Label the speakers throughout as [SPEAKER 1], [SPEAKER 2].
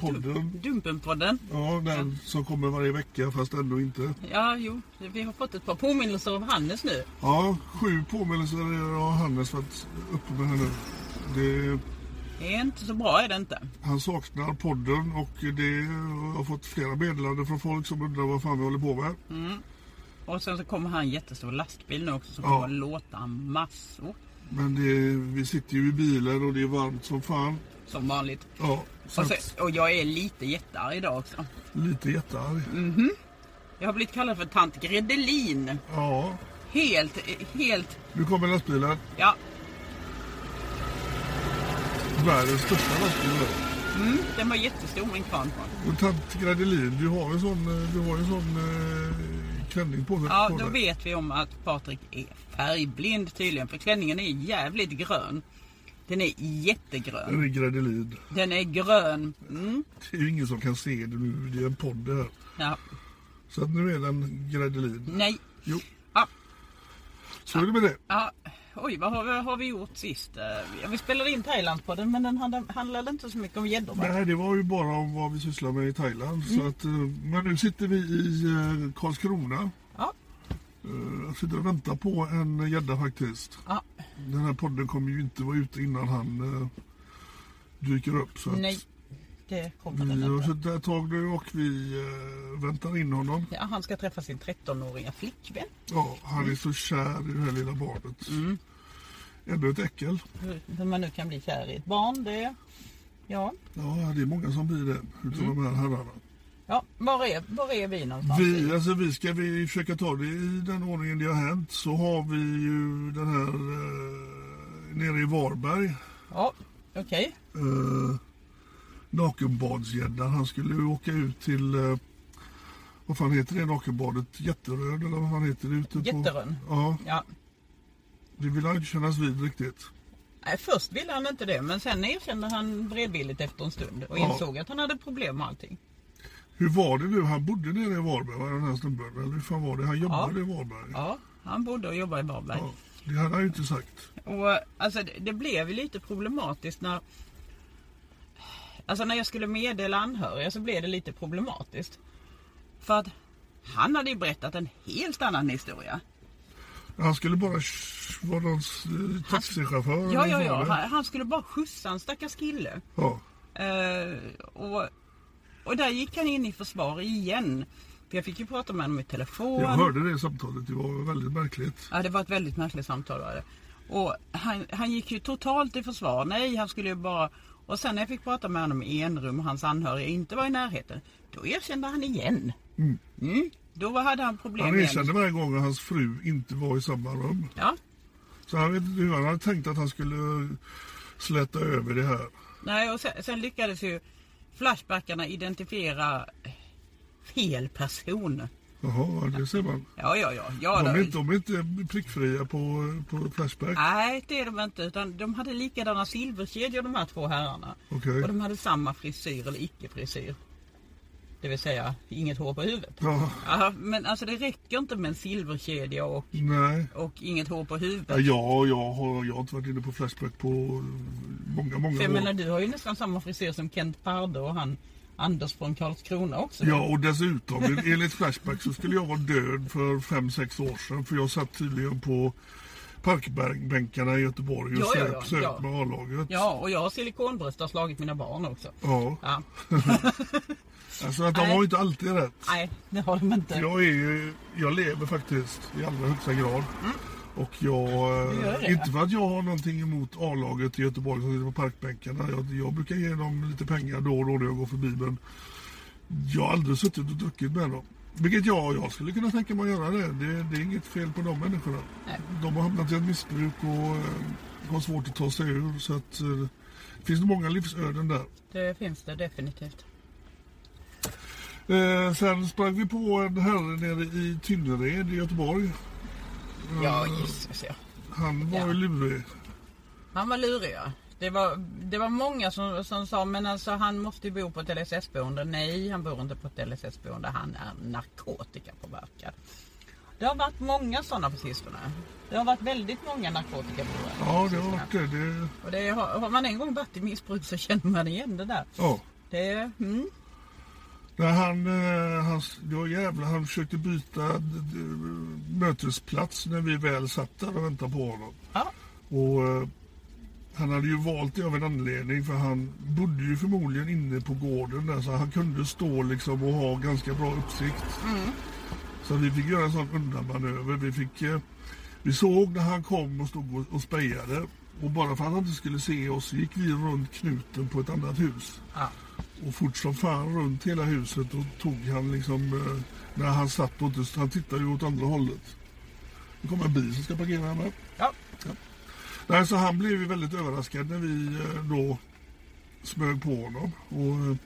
[SPEAKER 1] podden.
[SPEAKER 2] Dumpenpodden.
[SPEAKER 1] Ja, den som kommer varje vecka fast ändå inte.
[SPEAKER 2] Ja, jo, vi har fått ett par påminnelser av Hannes nu.
[SPEAKER 1] Ja, sju påminnelser av Hannes för att uppe med henne. Det,
[SPEAKER 2] Det är inte så bra är det inte.
[SPEAKER 1] han saknar podden och det jag har fått flera meddelanden från folk som undrar vad fan vi håller på med.
[SPEAKER 2] Och sen så kommer han en jättestor lastbil nu också som
[SPEAKER 1] Ja.
[SPEAKER 2] kommer att låta massor.
[SPEAKER 1] Men det, vi sitter ju i bilen och det är varmt som fan.
[SPEAKER 2] Som vanligt.
[SPEAKER 1] Ja, så
[SPEAKER 2] Och,
[SPEAKER 1] att,
[SPEAKER 2] så, och jag är lite jättearg idag också.
[SPEAKER 1] lite jättearg.
[SPEAKER 2] Jag har blivit kallad för tant Gredelin.
[SPEAKER 1] Ja,
[SPEAKER 2] Helt, helt,
[SPEAKER 1] nu kommer lastbilen.
[SPEAKER 2] ja.
[SPEAKER 1] Världens största lastbil.
[SPEAKER 2] Den var jättestor min kvarn på.
[SPEAKER 1] Och tant Gradelin, du har ju en sån, eh, du har ju en sån eh, klänning på dig.
[SPEAKER 2] Ja,
[SPEAKER 1] på
[SPEAKER 2] då
[SPEAKER 1] dig.
[SPEAKER 2] vet vi om att Patrik är färgblind tydligen. För klänningen är jävligt grön. Den är jättegrön.
[SPEAKER 1] Den är Gradelin.
[SPEAKER 2] Den är grön. Mm.
[SPEAKER 1] Det är ju ingen som kan se det nu, det är en podd det här.
[SPEAKER 2] Ja.
[SPEAKER 1] Så att nu är den Gradelin.
[SPEAKER 2] Nej.
[SPEAKER 1] Jo,
[SPEAKER 2] Ja,
[SPEAKER 1] så är det med det.
[SPEAKER 2] Ja, oj, vad har vi, har vi gjort sist? Eh, ja, Vi spelade in Thailandspodden men den handlade, handlade inte så mycket om gäddor va?
[SPEAKER 1] Nej, det var ju bara om vad vi sysslar med i Thailand.
[SPEAKER 2] Mm.
[SPEAKER 1] Så att, eh, men nu sitter vi i eh, Karlskrona.
[SPEAKER 2] Ja.
[SPEAKER 1] Eh, Jag sitter och väntar på en gädda faktiskt.
[SPEAKER 2] Ja.
[SPEAKER 1] Den här podden kommer ju inte vara ute innan han eh, dyker upp. Så att
[SPEAKER 2] Nej, det kommer
[SPEAKER 1] Vi
[SPEAKER 2] den
[SPEAKER 1] har
[SPEAKER 2] inte.
[SPEAKER 1] suttit där ett tag nu och vi eh, väntar in honom.
[SPEAKER 2] Ja, han ska träffa sin 13-åriga flickvän.
[SPEAKER 1] Ja, han är så kär i det här lilla barnet. Ändå ett äckel.
[SPEAKER 2] Hur hur man nu kan bli kär i ett barn, det... Ja,
[SPEAKER 1] Ja, det är många som blir det utav de här herrarna.
[SPEAKER 2] ja var, är, var är vi någonstans?
[SPEAKER 1] Vi, alltså vi ska vi försöka ta det i den ordningen det har hänt. Så har vi ju den här eh, nere i Varberg.
[SPEAKER 2] Ja, okej.
[SPEAKER 1] Eh, Nakenbadsgäddan. Han skulle ju åka ut till eh, vad fan heter det nakenbadet? Jätterön eller vad fan heter det? Ute på...
[SPEAKER 2] Jätterön.
[SPEAKER 1] Ja,
[SPEAKER 2] Ja.
[SPEAKER 1] det vill han inte kännas vid riktigt.
[SPEAKER 2] Nej, först ville han inte det men sen erkände han beredvilligt efter en stund och
[SPEAKER 1] Ja.
[SPEAKER 2] insåg att han hade problem med allting.
[SPEAKER 1] Hur var det nu? Han bodde nere i Varberg, var den här snubben? Eller hur fan var det? Han jobbade i Varberg.
[SPEAKER 2] Ja, han bodde och jobbade i Varberg.
[SPEAKER 1] Ja, det hade han ju inte sagt.
[SPEAKER 2] Och alltså det, det blev ju lite problematiskt när Alltså när jag skulle meddela anhöriga så blev det lite problematiskt. För att han hade ju berättat en helt annan historia.
[SPEAKER 1] Han skulle bara sh- vara någon s- eh, taxichaufför.
[SPEAKER 2] Ja,
[SPEAKER 1] eller
[SPEAKER 2] ja,
[SPEAKER 1] vad
[SPEAKER 2] ja.
[SPEAKER 1] var det?
[SPEAKER 2] Han, han skulle bara skjutsa en stackars kille.
[SPEAKER 1] ja.
[SPEAKER 2] Eh, och, och där gick han in i försvar igen. För jag fick ju prata med honom i telefon.
[SPEAKER 1] Jag hörde det samtalet, det var väldigt märkligt.
[SPEAKER 2] Ja, det var ett väldigt märkligt samtal. Var det. Och han, han gick ju totalt i försvar. Nej, han skulle ju bara... Och sen när jag fick prata med honom i enrum och hans anhöriga inte var i närheten, då erkände han igen. Mm, då hade han problem
[SPEAKER 1] Han erkände
[SPEAKER 2] igen.
[SPEAKER 1] varje gång att hans fru inte var i samma rum.
[SPEAKER 2] Ja,
[SPEAKER 1] Så han vet inte hur han hade tänkt att han skulle eh, släta över det här.
[SPEAKER 2] nej, och sen, sen lyckades ju Flashbackarna identifiera fel person.
[SPEAKER 1] Jaha, det ser man.
[SPEAKER 2] Ja, ja, ja. ja
[SPEAKER 1] De
[SPEAKER 2] då-
[SPEAKER 1] är inte, de är inte prickfria på, eh, på Flashback.
[SPEAKER 2] Nej, det är de inte. Utan de hade likadana silverkedjor de här två herrarna.
[SPEAKER 1] Okej.
[SPEAKER 2] Och de hade samma frisyr eller icke-frisyr. Det vill säga inget hår på huvudet.
[SPEAKER 1] Ja,
[SPEAKER 2] Ja, men alltså det räcker inte med en silverkedja och,
[SPEAKER 1] nej.
[SPEAKER 2] och inget hår på
[SPEAKER 1] Ja,
[SPEAKER 2] huvudet.
[SPEAKER 1] jag, jag, har, jag har inte varit inne på Flashback på eh, många, många
[SPEAKER 2] För jag menar
[SPEAKER 1] år.
[SPEAKER 2] du har ju nästan samma frisyr som Kent Parde och han Anders från Karlskrona också.
[SPEAKER 1] Ja, och dessutom en- enligt Flashback så skulle jag vara död för fem sex år sedan för jag satt tydligen på parkbänkarna i Göteborg och
[SPEAKER 2] Ja, ja,
[SPEAKER 1] söp,
[SPEAKER 2] ja,
[SPEAKER 1] söp
[SPEAKER 2] ja.
[SPEAKER 1] med A-laget.
[SPEAKER 2] Ja, och jag har silikonbröst och har slagit mina barn också.
[SPEAKER 1] Ja,
[SPEAKER 2] Ja.
[SPEAKER 1] alltså att de
[SPEAKER 2] Nej.
[SPEAKER 1] har ju inte alltid rätt.
[SPEAKER 2] Nej, det har de inte.
[SPEAKER 1] Jag, är ju, jag lever faktiskt i allra högsta grad. Och jag, eh,
[SPEAKER 2] Mm. Du gör det.
[SPEAKER 1] inte för att jag har någonting emot A-laget i Göteborg som sitter på parkbänkarna. Jag, jag brukar ge dem lite pengar då och då när jag går förbi men jag har aldrig suttit och druckit med dem. Vilket jag, jag skulle kunna tänka mig att göra det. det. Det är inget fel på de människorna.
[SPEAKER 2] Nej.
[SPEAKER 1] De har hamnat i ett missbruk och eh, har svårt att ta sig ur. Så att, eh, det finns många livsöden där.
[SPEAKER 2] Det finns det definitivt.
[SPEAKER 1] Eh, sen sprang vi på en herre nere i Tynnered i Göteborg.
[SPEAKER 2] Ja, gissas ja.
[SPEAKER 1] Han var
[SPEAKER 2] Ja.
[SPEAKER 1] ju lurig.
[SPEAKER 2] Han var lurig ja. Det var, det var många som, som sa men alltså han måste ju bo på ett LSS-boende. Nej, han bor inte på ett LSS-boende. Han är narkotikapåverkad. Det har varit många sådana på sistone. Det har varit väldigt många narkotikapåverkade.
[SPEAKER 1] Ja,
[SPEAKER 2] på
[SPEAKER 1] det har
[SPEAKER 2] sistone.
[SPEAKER 1] varit det. det
[SPEAKER 2] Och det har, har man en gång varit i missbruk så känner man igen det där.
[SPEAKER 1] ja.
[SPEAKER 2] Det, är- mm,
[SPEAKER 1] När han, eh, han, ja, jävlar, han försökte byta d- d- mötesplats när vi väl satt där och väntade på honom.
[SPEAKER 2] ja,
[SPEAKER 1] Och, eh, han hade ju valt det av en anledning för han bodde ju förmodligen inne på gården där så han kunde stå liksom och ha ganska bra uppsikt. Så vi fick göra en sån undanmanöver. Vi, fick, eh, vi såg när han kom och stod och, och spejade och bara för att han inte skulle se oss gick vi runt knuten på ett annat hus.
[SPEAKER 2] ja.
[SPEAKER 1] Och fort som fan runt hela huset och tog han liksom eh, när han satt och inte, han tittade ju åt andra hållet. Nu kommer en bil som ska parkera här med.
[SPEAKER 2] ja.
[SPEAKER 1] Nej, så han blev ju väldigt överraskad när vi eh, då smög på honom. Och eh,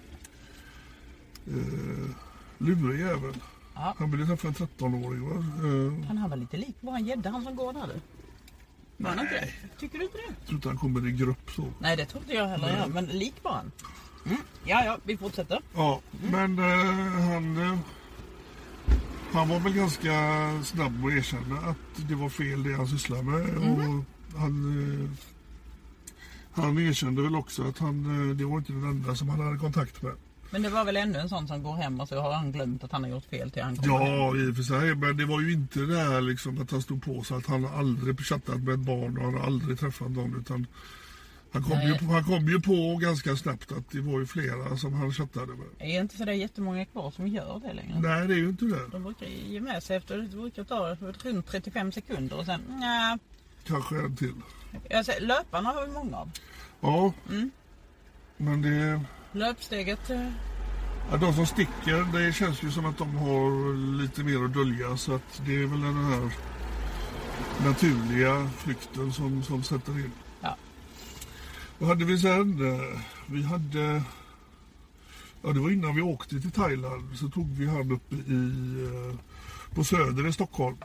[SPEAKER 1] eh, lurig jävel.
[SPEAKER 2] Ja.
[SPEAKER 1] Han ville träffa en 13-åring va? Eh,
[SPEAKER 2] Han han var lite lik våran gädda han som går där du. Var han inte det? Tycker du inte det?
[SPEAKER 1] tror inte han kommer i grupp så.
[SPEAKER 2] Nej det tror inte jag heller ja, men lik var han. Mm. Ja, ja, vi fortsätter.
[SPEAKER 1] Ja, men eh, han, eh, han var väl ganska snabb att erkänna att det var fel det han sysslade med. Och han, eh, han erkände väl också att han, eh, det var inte den enda som han hade kontakt med.
[SPEAKER 2] Men det var väl ännu en sån som går hem och så har han glömt att han har gjort fel till han kommer hem.
[SPEAKER 1] Ja, i och för sig. Men det var ju inte det här liksom att han stod på sig att han aldrig chattat med ett barn och han har aldrig träffat någon. Utan han, kom ju på, han kom ju på ganska snabbt att det var ju flera som han chattade med.
[SPEAKER 2] Det är inte sådär jättemånga kvar som gör det längre.
[SPEAKER 1] Nej, det är ju inte det.
[SPEAKER 2] De brukar ge med sig efter, det brukar ta runt 35 sekunder och sen nja.
[SPEAKER 1] Kanske en till.
[SPEAKER 2] Alltså, löparna har vi många av.
[SPEAKER 1] Ja. Men det...
[SPEAKER 2] Löpsteget, eh,
[SPEAKER 1] Ja, de som sticker, det känns ju som att de har lite mer att dölja. Så att det är väl den här naturliga flykten som, som sätter in.
[SPEAKER 2] ja.
[SPEAKER 1] Vad hade vi sen? Eh, Vi hade... Ja, det var innan vi åkte till Thailand. Så tog vi han uppe i... eh, På Söder i Stockholm.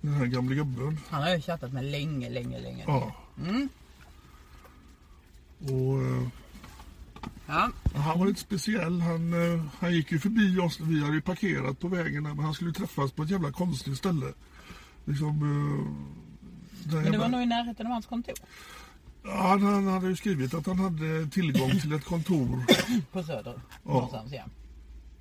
[SPEAKER 1] Den här gamla gubben.
[SPEAKER 2] Han har jag chattat med länge, länge, länge.
[SPEAKER 1] Ja. Och... eh,
[SPEAKER 2] Ja,
[SPEAKER 1] Han var lite speciell. Han, eh, han gick ju förbi oss. Vi hade ju parkerat på vägen där, men han skulle träffas på ett jävla konstigt ställe. Liksom, eh, där
[SPEAKER 2] men det var
[SPEAKER 1] jävla-
[SPEAKER 2] nog i närheten av hans kontor
[SPEAKER 1] han, han hade ju skrivit att han hade tillgång till ett kontor.
[SPEAKER 2] på Söder.
[SPEAKER 1] Ja.
[SPEAKER 2] Någonstans, ja.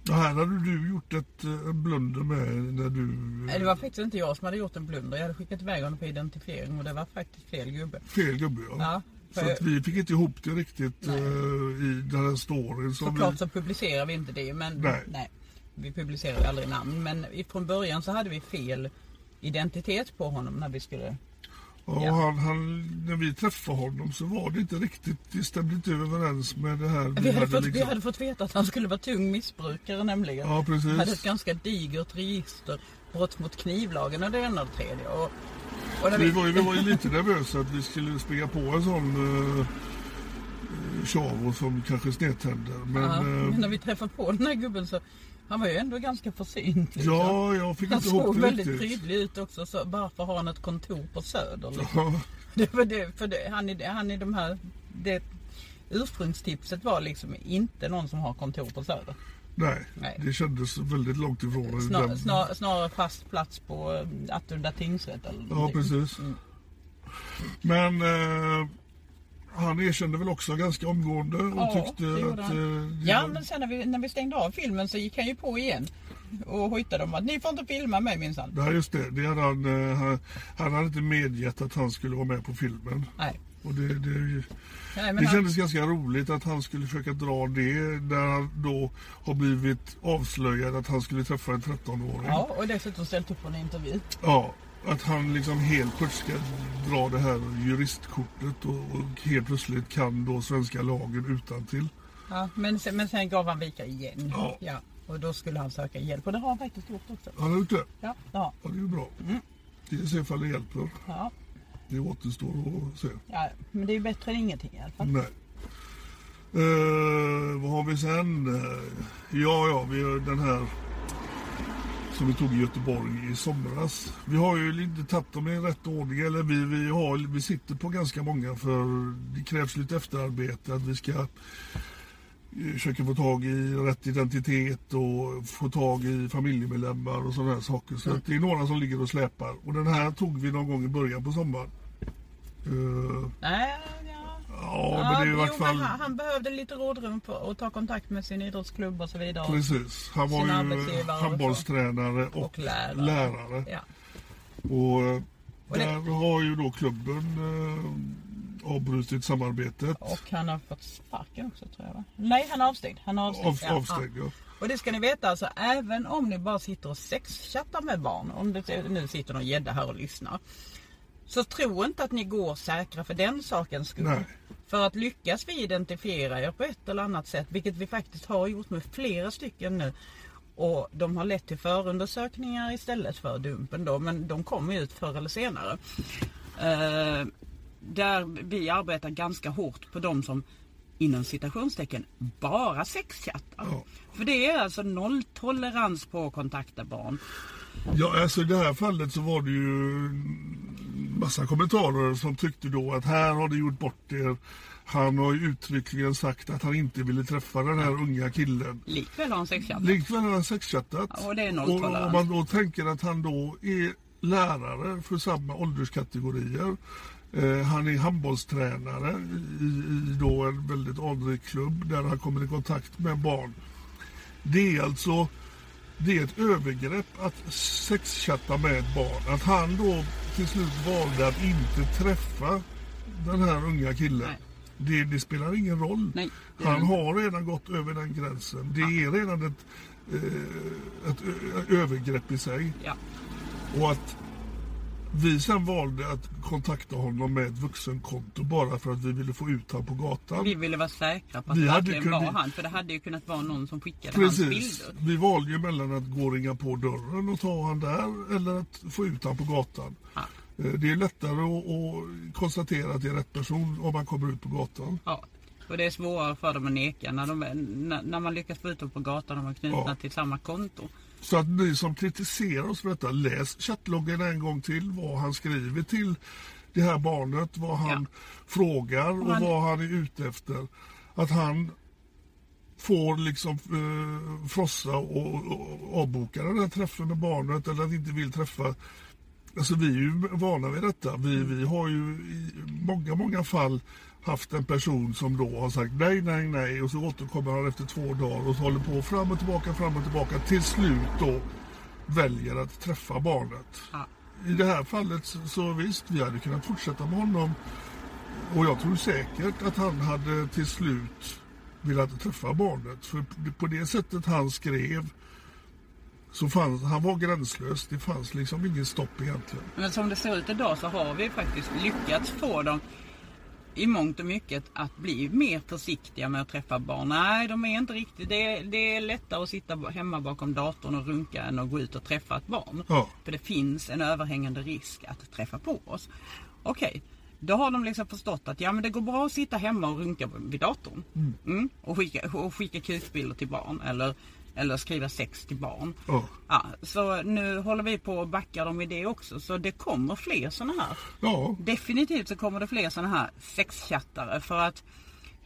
[SPEAKER 1] Det här hade du gjort ett eh, en blunder med när du...
[SPEAKER 2] Nej, Det var faktiskt inte jag som hade gjort en blunder. Jag hade skickat iväg honom på identifiering och det var faktiskt fel gubbe.
[SPEAKER 1] Fel gubbe
[SPEAKER 2] Ja,
[SPEAKER 1] Så
[SPEAKER 2] för-
[SPEAKER 1] att vi fick inte ihop det riktigt eh, i den här storyn. Som
[SPEAKER 2] Såklart
[SPEAKER 1] vi,
[SPEAKER 2] så publicerar vi inte det men
[SPEAKER 1] Nej.
[SPEAKER 2] nej. Vi publicerar ju aldrig namn men i- från början så hade vi fel identitet på honom när vi skulle...
[SPEAKER 1] och
[SPEAKER 2] ja.
[SPEAKER 1] han, han, när vi träffade honom så var det inte riktigt, det stämde inte överens med det här.
[SPEAKER 2] Vi hade, fått, vi hade fått veta att han skulle vara tung missbrukare nämligen.
[SPEAKER 1] liksom- Ja, precis.
[SPEAKER 2] Han hade ett ganska digert register, brott mot knivlagen och det ena och det tredje. Och, och när
[SPEAKER 1] Vi var, ju, vi var ju lite nervösa att vi skulle springa på en sån uh, Chavo som kanske snedtänder. Men
[SPEAKER 2] Ja,
[SPEAKER 1] eh,
[SPEAKER 2] men när vi träffade på den här gubben så Han var ju ändå ganska försynt. liksom.
[SPEAKER 1] Ja, jag fick
[SPEAKER 2] Han
[SPEAKER 1] inte ihop
[SPEAKER 2] såg
[SPEAKER 1] det
[SPEAKER 2] väldigt
[SPEAKER 1] riktigt.
[SPEAKER 2] prydlig ut också. Så varför har han ett kontor på Söder? Liksom?
[SPEAKER 1] Ja,
[SPEAKER 2] Det var det, för det, han, är, han är de här... Det, ursprungstipset var liksom inte någon som har kontor på Söder.
[SPEAKER 1] nej,
[SPEAKER 2] Nej.
[SPEAKER 1] det kändes väldigt långt ifrån.
[SPEAKER 2] Snar,
[SPEAKER 1] den-
[SPEAKER 2] snar, snarare fast plats på eh, Attunda tingsrätt eller
[SPEAKER 1] Ja,
[SPEAKER 2] någonting.
[SPEAKER 1] precis. Men eh, han erkände väl också ganska omgående och
[SPEAKER 2] Ja,
[SPEAKER 1] tyckte
[SPEAKER 2] det gjorde
[SPEAKER 1] att...
[SPEAKER 2] han.
[SPEAKER 1] eh, det
[SPEAKER 2] Ja
[SPEAKER 1] var-
[SPEAKER 2] men sen när vi, när vi stängde av filmen så gick han ju på igen och hojtade om att ni får inte filma mig minsann.
[SPEAKER 1] Nej, just det. det hade han, eh, han, han hade inte medgett att han skulle vara med på filmen.
[SPEAKER 2] Nej.
[SPEAKER 1] Och det, det,
[SPEAKER 2] Nej, men
[SPEAKER 1] det
[SPEAKER 2] han-
[SPEAKER 1] kändes ganska roligt att han skulle försöka dra det där han då har blivit avslöjad att han skulle träffa en 13-åring.
[SPEAKER 2] Ja och dessutom ställt upp på en intervju.
[SPEAKER 1] Ja, att han liksom helt plötsligt ska dra det här juristkortet och, och helt plötsligt kan då svenska lagen utan till.
[SPEAKER 2] Ja, men, sen, men sen gav han vika igen.
[SPEAKER 1] Ja.
[SPEAKER 2] och då skulle han söka hjälp och det har han faktiskt gjort också.
[SPEAKER 1] Han har gjort det.
[SPEAKER 2] Ja, ja,
[SPEAKER 1] Ja, det är ju bra.
[SPEAKER 2] Mm.
[SPEAKER 1] Det är se ifall det hjälper.
[SPEAKER 2] ja,
[SPEAKER 1] Det återstår att se.
[SPEAKER 2] ja. Men det är ju bättre än ingenting i alla fall.
[SPEAKER 1] Nej. Eh, vad har vi sen? Eh, Ja, ja, vi har den här som vi tog i Göteborg i somras. Vi har ju inte tagit dem i rätt ordning. Eller vi, vi, har, vi sitter på ganska många för det krävs lite efterarbete. Att vi ska eh, försöka få tag i rätt identitet och få tag i familjemedlemmar och sådana här saker. Så att det är några som ligger och släpar. Och den här tog vi någon gång i början på sommaren. Eh,
[SPEAKER 2] Nej, ja.
[SPEAKER 1] Ja, men det är i
[SPEAKER 2] jo,
[SPEAKER 1] vart fall...
[SPEAKER 2] men han, han behövde lite rådrum för att ta kontakt med sin idrottsklubb och så vidare.
[SPEAKER 1] Precis. Han var
[SPEAKER 2] Sina
[SPEAKER 1] ju
[SPEAKER 2] arbetsgivare och så.
[SPEAKER 1] handbollstränare och,
[SPEAKER 2] Och lärare.
[SPEAKER 1] lärare.
[SPEAKER 2] Ja.
[SPEAKER 1] Och, eh,
[SPEAKER 2] Och det-
[SPEAKER 1] där har ju då klubben eh, avbrutit samarbetet.
[SPEAKER 2] Och han har fått sparken också tror jag va? Nej, han är avstängd. Han är avstängd.
[SPEAKER 1] Av,
[SPEAKER 2] ja,
[SPEAKER 1] avstängd,
[SPEAKER 2] ja.
[SPEAKER 1] ja.
[SPEAKER 2] Och det ska ni veta alltså, även om ni bara sitter och sexchattar med barn, om det nu sitter någon gädda här och lyssnar. Så tro inte att ni går säkra för den sakens skull.
[SPEAKER 1] Nej.
[SPEAKER 2] För att lyckas vi identifiera er på ett eller annat sätt, vilket vi faktiskt har gjort med flera stycken nu. Och de har lett till förundersökningar istället för dumpen då, men de kommer ju ut förr eller senare. Eh, där vi arbetar ganska hårt på de som inom citationstecken bara sexchattar.
[SPEAKER 1] Ja.
[SPEAKER 2] För det är alltså nolltolerans på att kontakta barn.
[SPEAKER 1] Ja, alltså i det här fallet så var det ju massa kommentarer som tyckte då att här har du gjort bort er. Han har ju uttryckligen sagt att han inte ville träffa den här unga killen.
[SPEAKER 2] Likväl har en sexchatt.
[SPEAKER 1] Likväl har han sexchattat.
[SPEAKER 2] Ja, och det är
[SPEAKER 1] och
[SPEAKER 2] nolltolerans.
[SPEAKER 1] om man då tänker att han då är lärare för samma ålderskategorier. Eh, han är handbollstränare i, i då en väldigt anrik klubb där han kommer i kontakt med barn. Det är alltså det är ett övergrepp att sexchatta med ett barn. Att han då till slut valde att inte träffa den här unga killen.
[SPEAKER 2] Nej.
[SPEAKER 1] Det, det spelar ingen roll.
[SPEAKER 2] Nej, det är
[SPEAKER 1] han
[SPEAKER 2] det
[SPEAKER 1] har redan gått över den gränsen. Det är redan ett, eh, ett ö- övergrepp i sig.
[SPEAKER 2] Ja.
[SPEAKER 1] Och att vi sen valde att kontakta honom med ett vuxenkonto bara för att vi ville få ut honom på gatan.
[SPEAKER 2] Vi ville vara säkra på att
[SPEAKER 1] Vi
[SPEAKER 2] det
[SPEAKER 1] hade
[SPEAKER 2] verkligen
[SPEAKER 1] kunnat-
[SPEAKER 2] var han. För det hade ju kunnat vara någon som skickade hans
[SPEAKER 1] Precis.
[SPEAKER 2] bilder.
[SPEAKER 1] Vi valde ju mellan att gå och ringa på dörren och ta han där eller att få ut han på gatan. Eh, Det är lättare att, att konstatera att det är rätt person om man kommer ut på gatan.
[SPEAKER 2] Ja. Och det är svårare för dem att neka när, de, när, när man lyckas få ut dem på gatan och de är knutna
[SPEAKER 1] Ja.
[SPEAKER 2] till samma konto.
[SPEAKER 1] Så att ni som kritiserar oss för detta, läs chattloggen en gång till. Vad han skriver till det här barnet, vad han frågar och
[SPEAKER 2] han-
[SPEAKER 1] vad han är ute efter. Att han får liksom eh, frossa och, och, och avboka den här träffen med barnet eller att inte vill träffa. Alltså vi är ju vana vid detta. Vi, vi har ju i många, många fall haft en person som då har sagt nej, nej, nej och så återkommer han efter två dagar och så håller på fram och tillbaka, fram och tillbaka. Till slut då väljer att träffa barnet.
[SPEAKER 2] Ja.
[SPEAKER 1] I det här fallet så- så visst, vi hade kunnat fortsätta med honom och jag tror säkert att han hade till slut velat träffa barnet. För p- på det sättet han skrev så fanns, han var gränslös. Det fanns liksom ingen stopp egentligen.
[SPEAKER 2] Men som det ser ut idag så har vi faktiskt lyckats få dem i mångt och mycket att bli mer försiktiga med att träffa barn. Nej, de är inte riktigt... Det är, det är lättare att sitta hemma bakom datorn och runka än att gå ut och träffa ett barn.
[SPEAKER 1] Ja.
[SPEAKER 2] För det finns en överhängande risk att träffa på oss. Okej, då har de liksom förstått att ja, men det går bra att sitta hemma och runka vid datorn. Mm, och, skicka, och skicka kukbilder till barn. Eller Eller skriva sex till barn.
[SPEAKER 1] Ja.
[SPEAKER 2] Ja, så nu håller vi på att backa dem i det också. Så det kommer fler sådana här.
[SPEAKER 1] Ja,
[SPEAKER 2] Definitivt så kommer det fler sådana här sexchattare för att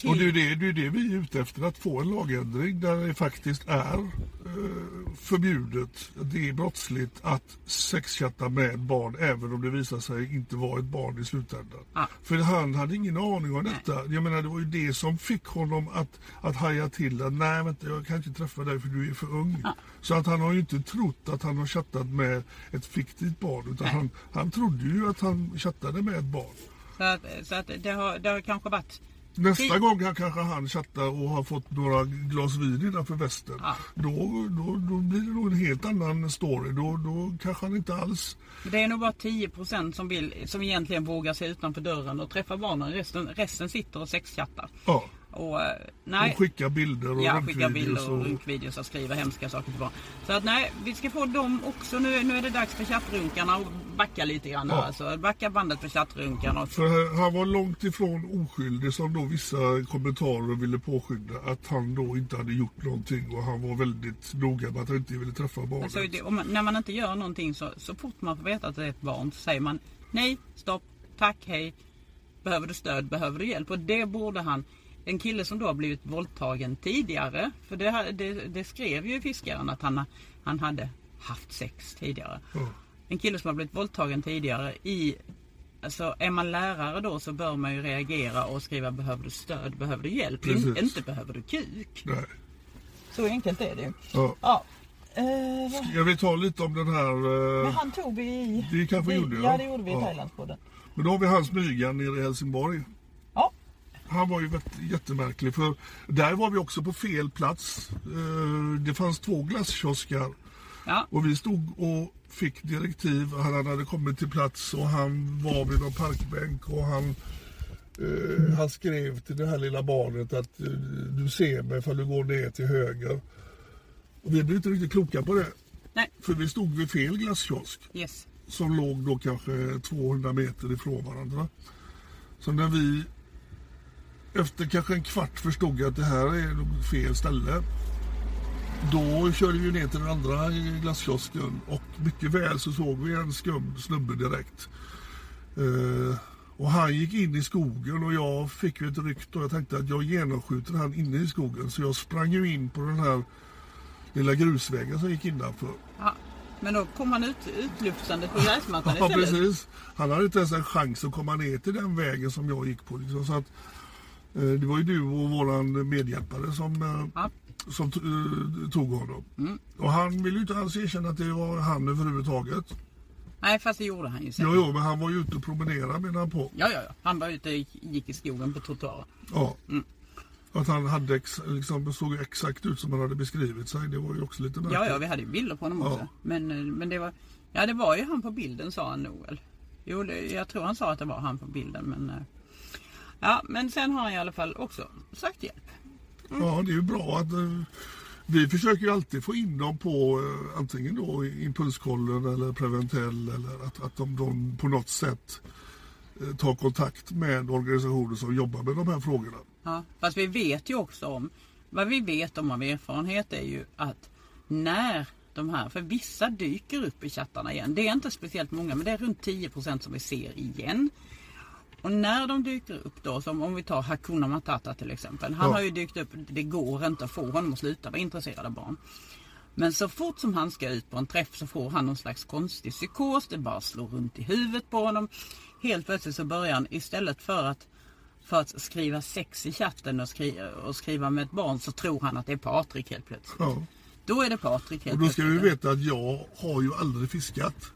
[SPEAKER 1] och det är ju det, det, är ju det vi är ute efter, att få en lagändring där det faktiskt är eh, förbjudet, det är brottsligt att sexchatta med barn även om det visar sig inte vara ett barn i slutändan.
[SPEAKER 2] Ja.
[SPEAKER 1] För han hade ingen aning om detta. Jag menar det var ju det som fick honom att, att haja till att nej vänta jag kan inte träffa dig för du är för ung. Så att han har ju inte trott att han har chattat med ett fiktivt barn utan
[SPEAKER 2] Nej.
[SPEAKER 1] han, han trodde ju att han chattade med ett barn.
[SPEAKER 2] Så att, så att det, har, det har kanske varit...
[SPEAKER 1] Nästa
[SPEAKER 2] Fy-
[SPEAKER 1] gång han kanske han chattar och har fått några glas vin innanför västen.
[SPEAKER 2] Ja.
[SPEAKER 1] Då, då, då blir det nog en helt annan story. Då, då kanske han inte alls...
[SPEAKER 2] Det är nog bara 10% som, vill, som egentligen vågar sig utanför dörren och träffa barnen. Resten, resten sitter och sexchattar.
[SPEAKER 1] Ja,
[SPEAKER 2] Och eh,
[SPEAKER 1] och
[SPEAKER 2] nej,
[SPEAKER 1] skicka bilder och
[SPEAKER 2] ja, skickar
[SPEAKER 1] röntgenvideos
[SPEAKER 2] bilder och
[SPEAKER 1] och...
[SPEAKER 2] runkvideos och skriver hemska saker till barn. Så att nej, vi ska få dem också. Nu, nu är det dags för chattrunkarna att backa lite grann. här,
[SPEAKER 1] Ja.
[SPEAKER 2] Alltså, backa bandet för chattrunkarna. Och,
[SPEAKER 1] För han- han var långt ifrån oskyldig som då vissa kommentarer ville påskynda att han då inte hade gjort någonting och han var väldigt noga med att han inte ville träffa barnet.
[SPEAKER 2] så är Alltså, det, om man, när man inte gör någonting så, så fort man får veta att det är ett barn så säger man nej, stopp, tack, hej. Behöver du stöd? Behöver du hjälp? Och det borde han. En kille som då har blivit våldtagen tidigare. För det, här- det, det skrev ju fiskaren att han, han hade haft sex tidigare.
[SPEAKER 1] Ja.
[SPEAKER 2] En kille som har blivit våldtagen tidigare i Alltså är man lärare då så bör man ju reagera och skriva behöver du stöd, behöver du hjälp, In-
[SPEAKER 1] Precis.
[SPEAKER 2] inte behöver du kuk.
[SPEAKER 1] Nej.
[SPEAKER 2] Så enkelt är det ju.
[SPEAKER 1] Ja.
[SPEAKER 2] Ja. Eh, vad-
[SPEAKER 1] Jag vill ta lite om den här... eh,
[SPEAKER 2] men han tog vi i...
[SPEAKER 1] Det kanske vi gjorde,
[SPEAKER 2] Ja,
[SPEAKER 1] ja.
[SPEAKER 2] det gjorde vi i
[SPEAKER 1] Ja.
[SPEAKER 2] Thailandspodden.
[SPEAKER 1] Men då har vi hans Mygan nere i Helsingborg.
[SPEAKER 2] Ja.
[SPEAKER 1] Han var ju vett- jättemärklig för där var vi också på fel plats. Eh, Det fanns två glasskiosker
[SPEAKER 2] Ja.
[SPEAKER 1] och vi stod och fick direktiv. Han hade kommit till plats och han var vid någon parkbänk och han, eh, han skrev till det här lilla barnet att eh, du ser mig ifall du går ner till höger. Och vi blev inte riktigt kloka på det.
[SPEAKER 2] Nej.
[SPEAKER 1] För vi stod vid fel glasskiosk
[SPEAKER 2] Yes.
[SPEAKER 1] som låg då kanske 200 meter ifrån varandra. Så när vi efter kanske en kvart förstod att det här är nog fel ställe. Då körde vi ner till den andra glasskiosken och mycket väl så såg vi en skum snubbe direkt. Eh, och han gick in i skogen och jag fick ju ett ryck och jag tänkte att jag genomskjuter han inne i skogen. Så jag sprang ju in på den här lilla grusvägen som gick innanför.
[SPEAKER 2] Ja. Men då kom han ut, utlufsande på gräsmattan
[SPEAKER 1] Ja,
[SPEAKER 2] istället.
[SPEAKER 1] precis. Han hade inte ens en chans att komma ner till den vägen som jag gick på. Liksom. Så att, eh, det var ju du och våran medhjälpare som, eh,
[SPEAKER 2] Ja. Mm.
[SPEAKER 1] som t- eh, tog honom. Och han ville ju inte alls erkänna att det var han överhuvudtaget.
[SPEAKER 2] Nej, fast det gjorde han ju sen.
[SPEAKER 1] Jo, jo, men han var ju ute och promenerade menar han på.
[SPEAKER 2] Ja, ja, ja. Han var ute och gick- gick i skogen på trottoaren.
[SPEAKER 1] Ja.
[SPEAKER 2] Mm.
[SPEAKER 1] Att han hade ex- liksom, såg ju exakt ut som han hade beskrivit sig. Det var ju också lite märkligt.
[SPEAKER 2] Ja, ja, vi hade ju bilder på honom
[SPEAKER 1] Ja.
[SPEAKER 2] också. Men, eh, men det var... Ja, det var ju han på bilden sa han nog väl. Jo, det, jag tror han sa att det var han på bilden, men... eh, Ja, men sen har han i alla fall också sökt hjälp. Mm.
[SPEAKER 1] Ja, det är ju bra att eh, vi försöker ju alltid få in dem på eh, antingen då impulskollen eller Preventell eller att, att de, de på något sätt eh, tar kontakt med organisationer som jobbar med de här frågorna.
[SPEAKER 2] Ja, fast vi vet ju också om, vad vi vet om av erfarenhet är ju att när de här, för vissa dyker upp i chattarna igen. Det är inte speciellt många men det är runt 10% som vi ser igen. Och när de dyker upp då, som om vi tar Hakuna Matata till exempel. Han
[SPEAKER 1] Ja.
[SPEAKER 2] har ju dykt upp, det går inte att få honom att sluta vara intresserad av barn. Men så fort som han ska ut på en träff så får han någon slags konstig psykos. Det bara slår runt i huvudet på honom. Helt plötsligt så börjar han istället för att, för att skriva sex i chatten och skriva, och skriva med ett barn så tror han att det är Patrik helt plötsligt.
[SPEAKER 1] Ja.
[SPEAKER 2] Då är det Patrik helt
[SPEAKER 1] Och då ska vi
[SPEAKER 2] plötsligt.
[SPEAKER 1] veta att jag har ju aldrig fiskat.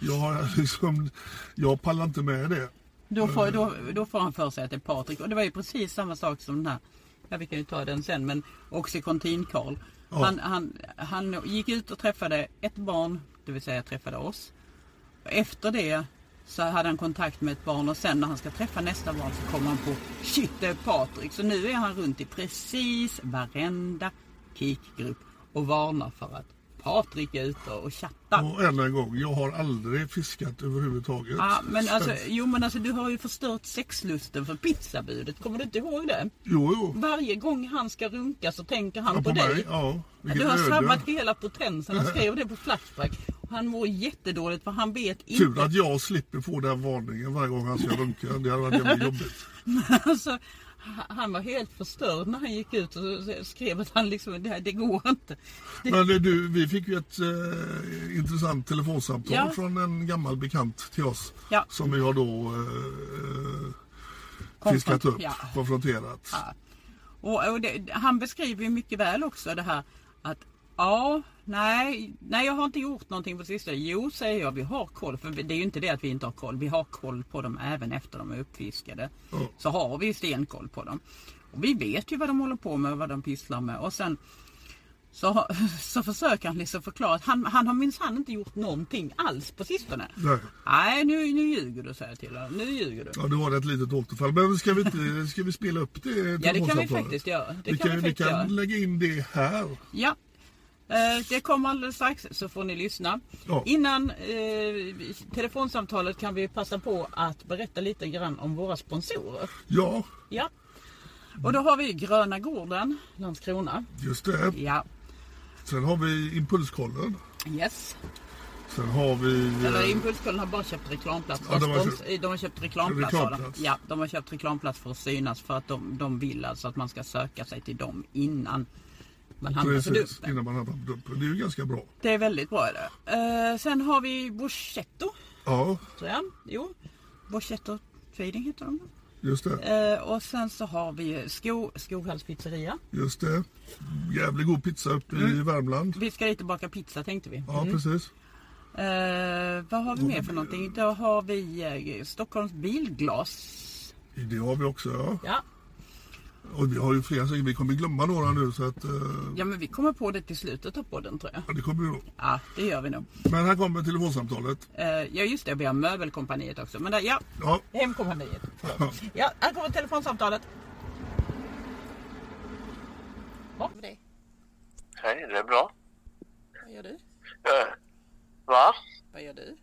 [SPEAKER 1] Jag, har liksom, jag pallar inte med det.
[SPEAKER 2] Då får, då, då får han för sig att det är Patrik. Och det var ju precis samma sak som den här, ja vi kan ju ta den sen, men Oxycontin-Karl.
[SPEAKER 1] Ja.
[SPEAKER 2] Han, han, han gick ut och träffade ett barn, det vill säga träffade oss. Efter det så hade han kontakt med ett barn och sen när han ska träffa nästa barn så kommer han på Shit det är Patrik. Så nu är han runt i precis varenda kikgrupp och varnar för att Patrik är ute och chattar.
[SPEAKER 1] Och än en gång, jag har aldrig fiskat överhuvudtaget.
[SPEAKER 2] Ja, men alltså,
[SPEAKER 1] Så-
[SPEAKER 2] jo men alltså du har ju förstört sexlusten för pizzabudet. Kommer du inte ihåg det?
[SPEAKER 1] Jo, jo.
[SPEAKER 2] Varje gång han ska runka så tänker han
[SPEAKER 1] Ja,
[SPEAKER 2] på,
[SPEAKER 1] på
[SPEAKER 2] dig.
[SPEAKER 1] mig, ja.
[SPEAKER 2] du
[SPEAKER 1] Vilket
[SPEAKER 2] har
[SPEAKER 1] öde.
[SPEAKER 2] sabbat hela potensen. Han skrev det på Flashback. Och Han mår jättedåligt för han vet inte.
[SPEAKER 1] Tur att jag slipper få den varningen varje gång han ska runka. Det hade varit jävligt jobbigt.
[SPEAKER 2] Alltså, ha- han var helt förstörd när han gick ut och så- så skrev att han liksom, det, här, det går inte.
[SPEAKER 1] Men eh, du, vi fick ju ett eh, intressant telefonsamtal
[SPEAKER 2] Ja.
[SPEAKER 1] från en gammal bekant till oss.
[SPEAKER 2] Ja.
[SPEAKER 1] Som vi har då eh, eh, fiskat upp,
[SPEAKER 2] ja.
[SPEAKER 1] konfronterat.
[SPEAKER 2] Och, och det, han beskriver ju mycket väl också det här att ja, nej, nej jag har inte gjort någonting på sistone. Jo, säger jag, vi har koll. För det är ju inte det att vi inte har koll. Vi har koll på dem även efter de är uppfiskade. Så har vi stenkoll på dem. Och vi vet ju vad de håller på med och vad de pysslar med. Och sen så, har- så försöker han liksom förklara att han, han har minsann inte gjort någonting alls på sistone.
[SPEAKER 1] Nej.
[SPEAKER 2] Nej, nu, nu ljuger du säger jag till honom. Nu ljuger du.
[SPEAKER 1] Ja, det var ett litet återfall. Men ska vi, inte, ska vi spela upp det
[SPEAKER 2] Ja, det kan vi
[SPEAKER 1] telefonsamtalet?
[SPEAKER 2] faktiskt göra. Det
[SPEAKER 1] vi
[SPEAKER 2] kan
[SPEAKER 1] kan,
[SPEAKER 2] vi
[SPEAKER 1] vi
[SPEAKER 2] faktiskt göra.
[SPEAKER 1] kan lägga in det här.
[SPEAKER 2] Ja. Eh, Det kommer alldeles strax så får ni lyssna.
[SPEAKER 1] Ja.
[SPEAKER 2] Innan eh, telefonsamtalet kan vi passa på att berätta lite grann om våra sponsorer.
[SPEAKER 1] Ja,
[SPEAKER 2] Ja. Och då har vi Gröna Gården, Landskrona.
[SPEAKER 1] just det.
[SPEAKER 2] Ja.
[SPEAKER 1] Sen har vi impulskollen.
[SPEAKER 2] Yes.
[SPEAKER 1] Sen har vi... eh,
[SPEAKER 2] Eller Impulskollen har bara köpt reklamplats.
[SPEAKER 1] Ja, de har
[SPEAKER 2] Spons- eh,
[SPEAKER 1] köpt-
[SPEAKER 2] de har köpt reklamplats. har de.
[SPEAKER 1] Reklamplats.
[SPEAKER 2] Ja, de har köpt reklamplats för att synas för att de, de vill alltså att man ska söka sig till dem innan man hamnar på
[SPEAKER 1] Precis,
[SPEAKER 2] dumpen.
[SPEAKER 1] innan man hamnar på dumpen. Det är ju ganska bra.
[SPEAKER 2] Det är väldigt bra. är Det. Eh, sen har vi Borsetto.
[SPEAKER 1] Ja,
[SPEAKER 2] tror jag. Jo. Borsetto Trading heter de.
[SPEAKER 1] just det.
[SPEAKER 2] Eh, och sen så har vi ju Sko, Skoghälls pizzeria.
[SPEAKER 1] Just det. Jävligt god pizza uppe i
[SPEAKER 2] Mm.
[SPEAKER 1] Värmland.
[SPEAKER 2] Vi ska dit och baka pizza tänkte vi.
[SPEAKER 1] Ja, precis.
[SPEAKER 2] Eh, vad har vi mer för någonting? Då har vi eh, Stockholms Bilglas.
[SPEAKER 1] Det har vi också, ja.
[SPEAKER 2] Ja.
[SPEAKER 1] Och vi har ju flera saker. Vi kommer glömma några nu så att... eh,
[SPEAKER 2] ja, men vi kommer på det till slutet av podden tror jag.
[SPEAKER 1] Ja, det kommer vi nog.
[SPEAKER 2] Ja, det gör vi nog.
[SPEAKER 1] Men här kommer telefonsamtalet.
[SPEAKER 2] Eh, ja, just det. Vi har Möbelkompaniet också. Men där, ja,
[SPEAKER 1] Ja.
[SPEAKER 2] Hemkompaniet. Ja, här kommer telefonsamtalet. Vad med dig?
[SPEAKER 3] Hej, det är bra.
[SPEAKER 2] Vad gör du?
[SPEAKER 3] Eh, va?
[SPEAKER 2] Vad gör du?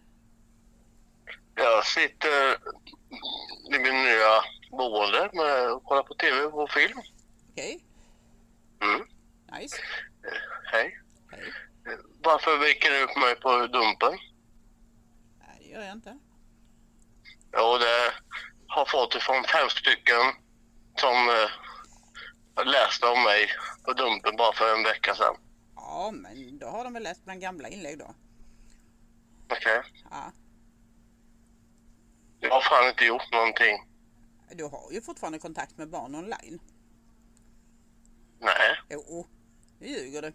[SPEAKER 3] Jag sitter i min nya boende med och kollar på TV och film.
[SPEAKER 2] Okej,
[SPEAKER 3] Mm.
[SPEAKER 2] nice.
[SPEAKER 3] Eh, hej.
[SPEAKER 2] Hej.
[SPEAKER 3] Eh, Varför väcker du upp mig på Dumpen?
[SPEAKER 2] Nej, det gör jag inte.
[SPEAKER 3] Jo, det har fått ifrån fem stycken som eh, läste om mig på Dumpen bara för en vecka sedan.
[SPEAKER 2] Ja, men då har de väl läst bland gamla inlägg då.
[SPEAKER 3] Okej?
[SPEAKER 2] Ja.
[SPEAKER 3] Jag har fan inte gjort någonting.
[SPEAKER 2] Du har ju fortfarande kontakt med barn online.
[SPEAKER 3] Nej,
[SPEAKER 2] Jo, nu ljuger du.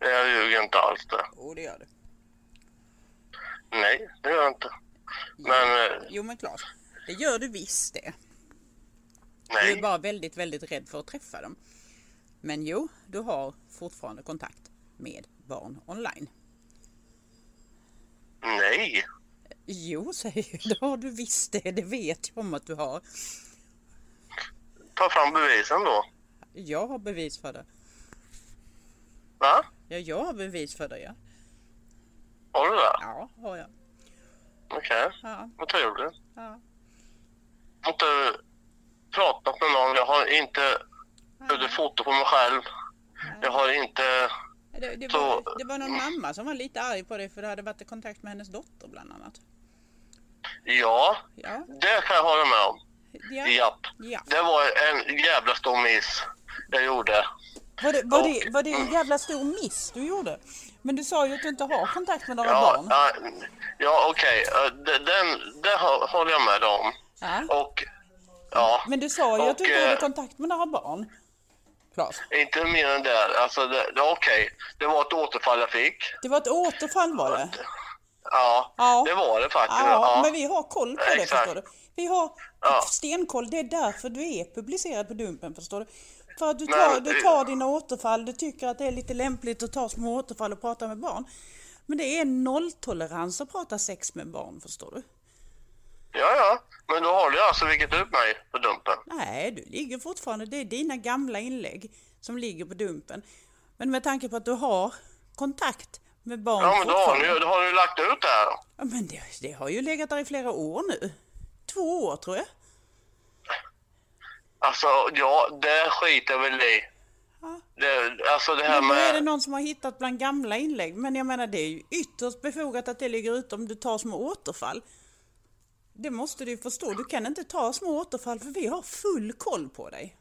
[SPEAKER 3] nej. Jag ljuger inte alls det.
[SPEAKER 2] Jo, det gör du.
[SPEAKER 3] Nej, det gör jag inte. Men eh,
[SPEAKER 2] Jo, men klart. Det gör du visst det. Du är
[SPEAKER 3] nej.
[SPEAKER 2] bara väldigt, väldigt rädd för att träffa dem. Men jo, du har fortfarande kontakt med barn online.
[SPEAKER 3] Nej.
[SPEAKER 2] Jo, säger jag. Det har du visst det. Det vet jag om att du har.
[SPEAKER 3] Ta fram bevisen då.
[SPEAKER 2] Jag har bevis för det.
[SPEAKER 3] Va?
[SPEAKER 2] Ja, jag har bevis för det, ja.
[SPEAKER 3] Har du det?
[SPEAKER 2] Ja, har jag.
[SPEAKER 3] Okej.
[SPEAKER 2] Ja.
[SPEAKER 3] Vad trevligt.
[SPEAKER 2] Ja.
[SPEAKER 3] Jag har inte pratat med någon. Jag har inte gjort foto på mig själv. Jag har inte...
[SPEAKER 2] Det, det,
[SPEAKER 3] Så-
[SPEAKER 2] var, det var någon mamma som var lite arg på dig för du hade varit i kontakt med hennes dotter bland annat.
[SPEAKER 3] Ja,
[SPEAKER 2] Ja.
[SPEAKER 3] det kan jag hålla med om.
[SPEAKER 2] Ja.
[SPEAKER 3] Japp.
[SPEAKER 2] Ja.
[SPEAKER 3] Det var en jävla stor miss jag gjorde.
[SPEAKER 2] Var, det, var, det, var det en
[SPEAKER 3] Mm.
[SPEAKER 2] jävla stor miss du gjorde? Men du sa ju att du inte har kontakt med några
[SPEAKER 3] Ja,
[SPEAKER 2] barn.
[SPEAKER 3] ja, ja okej. Eh, det- Den, det hå- håller jag med om.
[SPEAKER 2] Ja.
[SPEAKER 3] Och... Ja.
[SPEAKER 2] Men du sa ju att du
[SPEAKER 3] Och,
[SPEAKER 2] inte
[SPEAKER 3] eh,
[SPEAKER 2] hade kontakt med några barn. Klas.
[SPEAKER 3] Inte mer än det. Alltså, det, det okej. Det var ett återfall jag fick.
[SPEAKER 2] Det var ett återfall var det.
[SPEAKER 3] Ja,
[SPEAKER 2] Ja.
[SPEAKER 3] det var det faktiskt.
[SPEAKER 2] Ja, men vi har koll på det
[SPEAKER 3] Exakt.
[SPEAKER 2] förstår du. Vi har
[SPEAKER 3] Ja.
[SPEAKER 2] stenkoll. Det är därför du är publicerad på Dumpen förstår du. För att du
[SPEAKER 3] Nej,
[SPEAKER 2] tar,
[SPEAKER 3] men
[SPEAKER 2] du
[SPEAKER 3] det-
[SPEAKER 2] tar dina återfall. Du tycker att det är lite lämpligt att ta små återfall och prata med barn. Men det är nolltolerans att prata sex med barn förstår du.
[SPEAKER 3] Ja, ja. Men då har du alltså vikit upp mig på Dumpen.
[SPEAKER 2] Nej, du ligger fortfarande. Det är dina gamla inlägg som ligger på Dumpen. Men med tanke på att du har kontakt med barn
[SPEAKER 3] Ja, men då har
[SPEAKER 2] fortfarande.
[SPEAKER 3] ni, då har ni lagt ut det här.
[SPEAKER 2] Ja, men det, det har ju legat där i flera år nu. Två år tror jag.
[SPEAKER 3] Alltså, ja, det skiter väl i. Det, alltså det här
[SPEAKER 2] Men då är det
[SPEAKER 3] med...
[SPEAKER 2] någon som har hittat bland gamla inlägg. Men jag menar det är ju ytterst befogat att det ligger ute om du tar små återfall. Det måste du ju förstå. Du kan inte ta små återfall för vi har full koll på dig.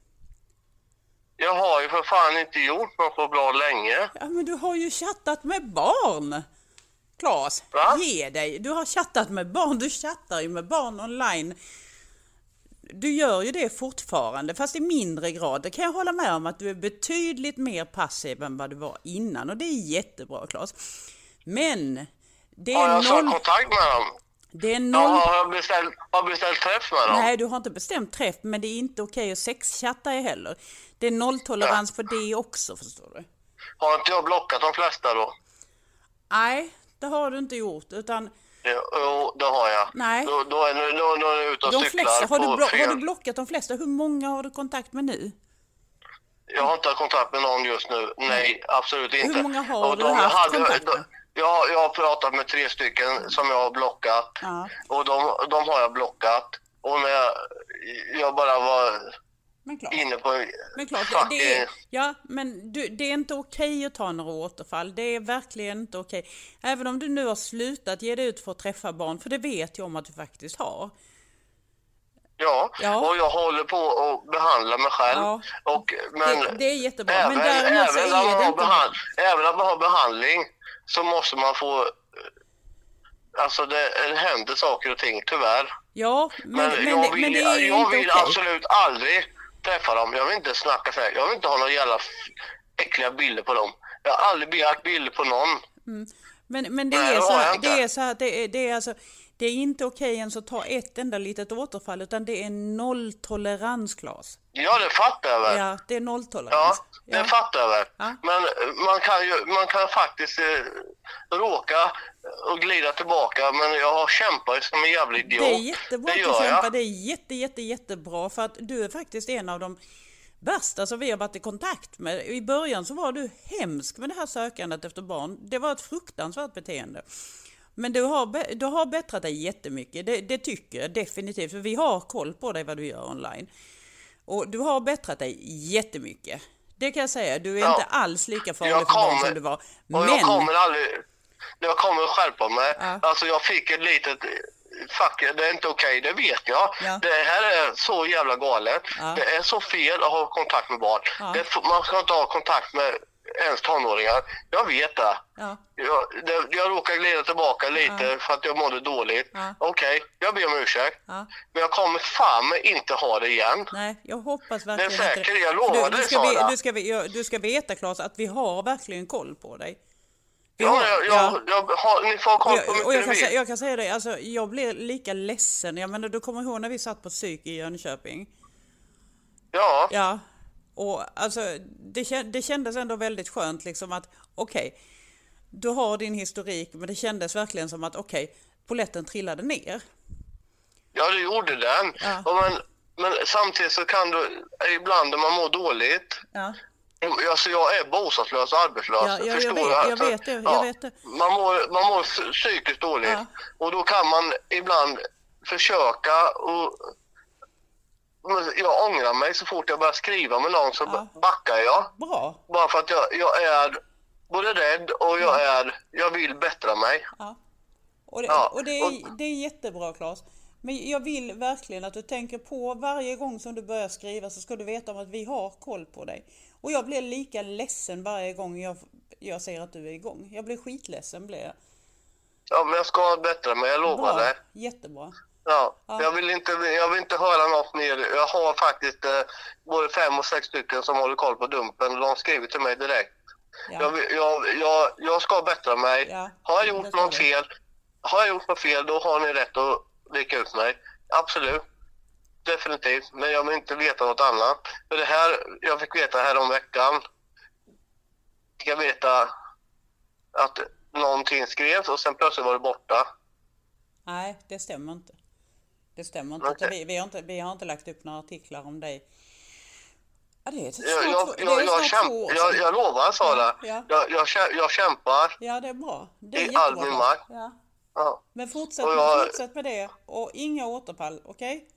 [SPEAKER 3] Jag har ju för fan inte gjort något på bra länge.
[SPEAKER 2] Ja men du har ju chattat med barn! Klas,
[SPEAKER 3] Va?
[SPEAKER 2] ge dig! Du har chattat med barn, du chattar ju med barn online. Du gör ju det fortfarande, fast i mindre grad. Det kan jag hålla med om att du är betydligt mer passiv än vad du var innan och det är jättebra Klas. Men det
[SPEAKER 3] Har
[SPEAKER 2] är
[SPEAKER 3] jag så
[SPEAKER 2] noll...
[SPEAKER 3] kontakt med dem?
[SPEAKER 2] Det är
[SPEAKER 3] Jag
[SPEAKER 2] noll...
[SPEAKER 3] har, jag beställt, har beställt träff med dem?
[SPEAKER 2] Nej, du har inte bestämt träff, men det är inte okej att sexchatta heller. Det är nolltolerans för det också, förstår du.
[SPEAKER 3] Har inte jag blockat de flesta då?
[SPEAKER 2] Nej, det har du inte gjort, utan
[SPEAKER 3] Det, jo, det har jag.
[SPEAKER 2] Nej.
[SPEAKER 3] Då, då, är, nu- då, då är jag ute och
[SPEAKER 2] De
[SPEAKER 3] cyklar
[SPEAKER 2] flesta, har, du
[SPEAKER 3] på
[SPEAKER 2] blo-
[SPEAKER 3] fel.
[SPEAKER 2] har du blockat de flesta? Hur många har du kontakt med nu?
[SPEAKER 3] Jag har inte kontakt med någon just nu. Nej, absolut inte.
[SPEAKER 2] många har
[SPEAKER 3] Och
[SPEAKER 2] du
[SPEAKER 3] de
[SPEAKER 2] haft kontakt med?
[SPEAKER 3] de- jag, jag har pratat med tre stycken som jag har blockat.
[SPEAKER 2] Ja.
[SPEAKER 3] Och de, de har jag blockat. Och när jag, jag bara var
[SPEAKER 2] Men klart.
[SPEAKER 3] inne på...
[SPEAKER 2] Men klart,
[SPEAKER 3] Fuck,
[SPEAKER 2] det, det,
[SPEAKER 3] eh,
[SPEAKER 2] är, ja, men du, det är inte okej att ta några återfall. Det är verkligen inte okej. Även om du nu har slutat ge dig ut för att träffa barn, för det vet jag om att du faktiskt har.
[SPEAKER 3] Ja.
[SPEAKER 2] Ja.
[SPEAKER 3] och jag håller på att behandla mig själv.
[SPEAKER 2] Ja.
[SPEAKER 3] Och, men
[SPEAKER 2] Det- det är jättebra, men
[SPEAKER 3] Även,
[SPEAKER 2] däremot så är
[SPEAKER 3] även, när man
[SPEAKER 2] det
[SPEAKER 3] har
[SPEAKER 2] inte-
[SPEAKER 3] behand, även om man har behandling så måste man få... eh, Alltså det, det händer saker och ting tyvärr.
[SPEAKER 2] Ja, men,
[SPEAKER 3] Men,
[SPEAKER 2] men,
[SPEAKER 3] jag
[SPEAKER 2] men,
[SPEAKER 3] vill,
[SPEAKER 2] det är ju
[SPEAKER 3] jag
[SPEAKER 2] inte
[SPEAKER 3] vill
[SPEAKER 2] okej.
[SPEAKER 3] absolut aldrig träffa dem. Jag vill inte snacka så här. Jag vill inte ha några jävla f- äckliga bilder på dem. Jag har aldrig begärt bilder på någon.
[SPEAKER 2] Men, men det,
[SPEAKER 3] Nej,
[SPEAKER 2] är
[SPEAKER 3] det
[SPEAKER 2] så
[SPEAKER 3] har jag
[SPEAKER 2] här,
[SPEAKER 3] inte.
[SPEAKER 2] det är så här, det är, det är alltså, det är inte okej ens att ta ett enda litet återfall, utan det är nolltolerans, Claes.
[SPEAKER 3] Ja, det fattar jag väl. Ja,
[SPEAKER 2] Ja, det är nolltolerans.
[SPEAKER 3] det fattar jag väl.
[SPEAKER 2] Ja.
[SPEAKER 3] Men eh, man kan ju man kan faktiskt eh, råka och glida tillbaka. Men jag har kämpat ju som en jävla idiot.
[SPEAKER 2] Det är jättebra att
[SPEAKER 3] det gör
[SPEAKER 2] du kämpar.
[SPEAKER 3] jag.
[SPEAKER 2] Det är jätte, jätte, jättebra för att du är faktiskt en av de värsta som vi har varit i kontakt med. I början så var du hemsk med det här sökandet efter barn. Det var ett fruktansvärt beteende. Men du har, be- du har bättrat dig jättemycket, det, det tycker jag definitivt. För vi har koll på dig vad du gör online. Och du har bättrat dig jättemycket. Det kan jag säga, du är
[SPEAKER 3] Ja.
[SPEAKER 2] inte alls lika farlig
[SPEAKER 3] Jag
[SPEAKER 2] för barn
[SPEAKER 3] kommer-
[SPEAKER 2] som du var.
[SPEAKER 3] Och jag kommer aldrig... Jag kommer skärpa mig.
[SPEAKER 2] Ja.
[SPEAKER 3] Alltså jag fick ett litet... eh, Fuck, det är inte okej, det vet jag.
[SPEAKER 2] Ja.
[SPEAKER 3] Det här är så jävla galet. Det är så fel att ha kontakt med barn. Det är f- man ska inte ha kontakt med ens tonåringar. Jag vet det.
[SPEAKER 2] Ja.
[SPEAKER 3] Jag, det, jag råkar glida tillbaka lite för att jag mådde dåligt.
[SPEAKER 2] Ja.
[SPEAKER 3] Okej, jag ber om ursäkt.
[SPEAKER 2] Ja.
[SPEAKER 3] Men jag kommer fan mig inte ha det igen.
[SPEAKER 2] Nej, jag hoppas verkligen
[SPEAKER 3] Det är säkert,
[SPEAKER 2] inte
[SPEAKER 3] jag lovar
[SPEAKER 2] du,
[SPEAKER 3] dig,
[SPEAKER 2] du, ska
[SPEAKER 3] Sara.
[SPEAKER 2] ve- du, ska, ve- ja, du ska veta Claes att vi har verkligen koll på dig. Vi
[SPEAKER 3] Ja,
[SPEAKER 2] har-
[SPEAKER 3] jag, jag,
[SPEAKER 2] ja.
[SPEAKER 3] jag, har, ni får ha
[SPEAKER 2] Och
[SPEAKER 3] koll på
[SPEAKER 2] jag,
[SPEAKER 3] hur
[SPEAKER 2] och jag,
[SPEAKER 3] mycket
[SPEAKER 2] kan
[SPEAKER 3] ni
[SPEAKER 2] säga,
[SPEAKER 3] vill.
[SPEAKER 2] jag kan säga det, alltså, jag blir lika ledsen. Jag menar, du kommer ihåg när vi satt på psyk i Jönköping?
[SPEAKER 3] Ja,
[SPEAKER 2] Ja. Och alltså, det, kän- det kändes ändå väldigt skönt liksom att okej, du har din historik men det kändes verkligen som att okej, polletten trillade ner.
[SPEAKER 3] Ja, det gjorde den.
[SPEAKER 2] Ja.
[SPEAKER 3] Och men, men samtidigt så kan du, ibland när man mår dåligt,
[SPEAKER 2] Ja.
[SPEAKER 3] alltså jag är bostadslös och arbetslös.
[SPEAKER 2] Ja, ja, jag
[SPEAKER 3] förstår
[SPEAKER 2] vet-
[SPEAKER 3] du?
[SPEAKER 2] jag
[SPEAKER 3] Alltså,
[SPEAKER 2] vet det, jag vet det.
[SPEAKER 3] Man mår, man mår f- psykiskt dåligt
[SPEAKER 2] Ja.
[SPEAKER 3] och då kan man ibland försöka och men jag ångrar mig så fort jag börjar skriva med någon så
[SPEAKER 2] Ja.
[SPEAKER 3] backar jag.
[SPEAKER 2] Bra.
[SPEAKER 3] Bara för att jag, jag är både rädd och jag, är, jag vill bättra mig.
[SPEAKER 2] Mm. Ja. Och, det,
[SPEAKER 3] Ja,
[SPEAKER 2] och det, är,
[SPEAKER 3] och-
[SPEAKER 2] det är jättebra Claes. Men jag vill verkligen att du tänker på varje gång som du börjar skriva så ska du veta om att vi har koll på dig. Och jag blir lika ledsen varje gång jag, jag ser att du är igång. Jag blir skitledsen blir jag.
[SPEAKER 3] Ja, men jag ska bättra mig, jag
[SPEAKER 2] Bra,
[SPEAKER 3] lovar dig.
[SPEAKER 2] jättebra.
[SPEAKER 3] Ja,
[SPEAKER 2] Ja.
[SPEAKER 3] Jag, vill inte, jag vill inte höra något mer. Jag har faktiskt eh, både fem och sex stycken som håller koll på Dumpen och de skriver till mig direkt. Jag,
[SPEAKER 2] Ja.
[SPEAKER 3] vill- jag, jag, jag ska bättra mig.
[SPEAKER 2] Ja,
[SPEAKER 3] Har jag
[SPEAKER 2] det
[SPEAKER 3] gjort
[SPEAKER 2] ska
[SPEAKER 3] något
[SPEAKER 2] du.
[SPEAKER 3] fel, har jag gjort något fel, då har ni rätt att rycka ut mig. Absolut. Definitivt. Men jag vill inte veta något annat. För det här, jag fick veta här om veckan. Fick Jag veta att någonting skrevs och sen plötsligt var det borta.
[SPEAKER 2] Nej, det stämmer inte. Det stämmer inte.
[SPEAKER 3] Okej.
[SPEAKER 2] utan Vi, vi, har inte vi har inte lagt upp några artiklar om dig Ja, det är ett
[SPEAKER 3] Jag, jag,
[SPEAKER 2] snart,
[SPEAKER 3] jag,
[SPEAKER 2] det är
[SPEAKER 3] jag,
[SPEAKER 2] snart två år
[SPEAKER 3] kämp- jag,
[SPEAKER 2] sedan.
[SPEAKER 3] jag lovar Sara.
[SPEAKER 2] Ja.
[SPEAKER 3] Jag, jag, kä- jag kämpar.
[SPEAKER 2] Ja, det är bra. Det är
[SPEAKER 3] I all
[SPEAKER 2] jättebra.
[SPEAKER 3] min makt.
[SPEAKER 2] Ja.
[SPEAKER 3] Ja.
[SPEAKER 2] Men fortsätt,
[SPEAKER 3] Och jag-
[SPEAKER 2] fortsätt med det och inga återfall, okej?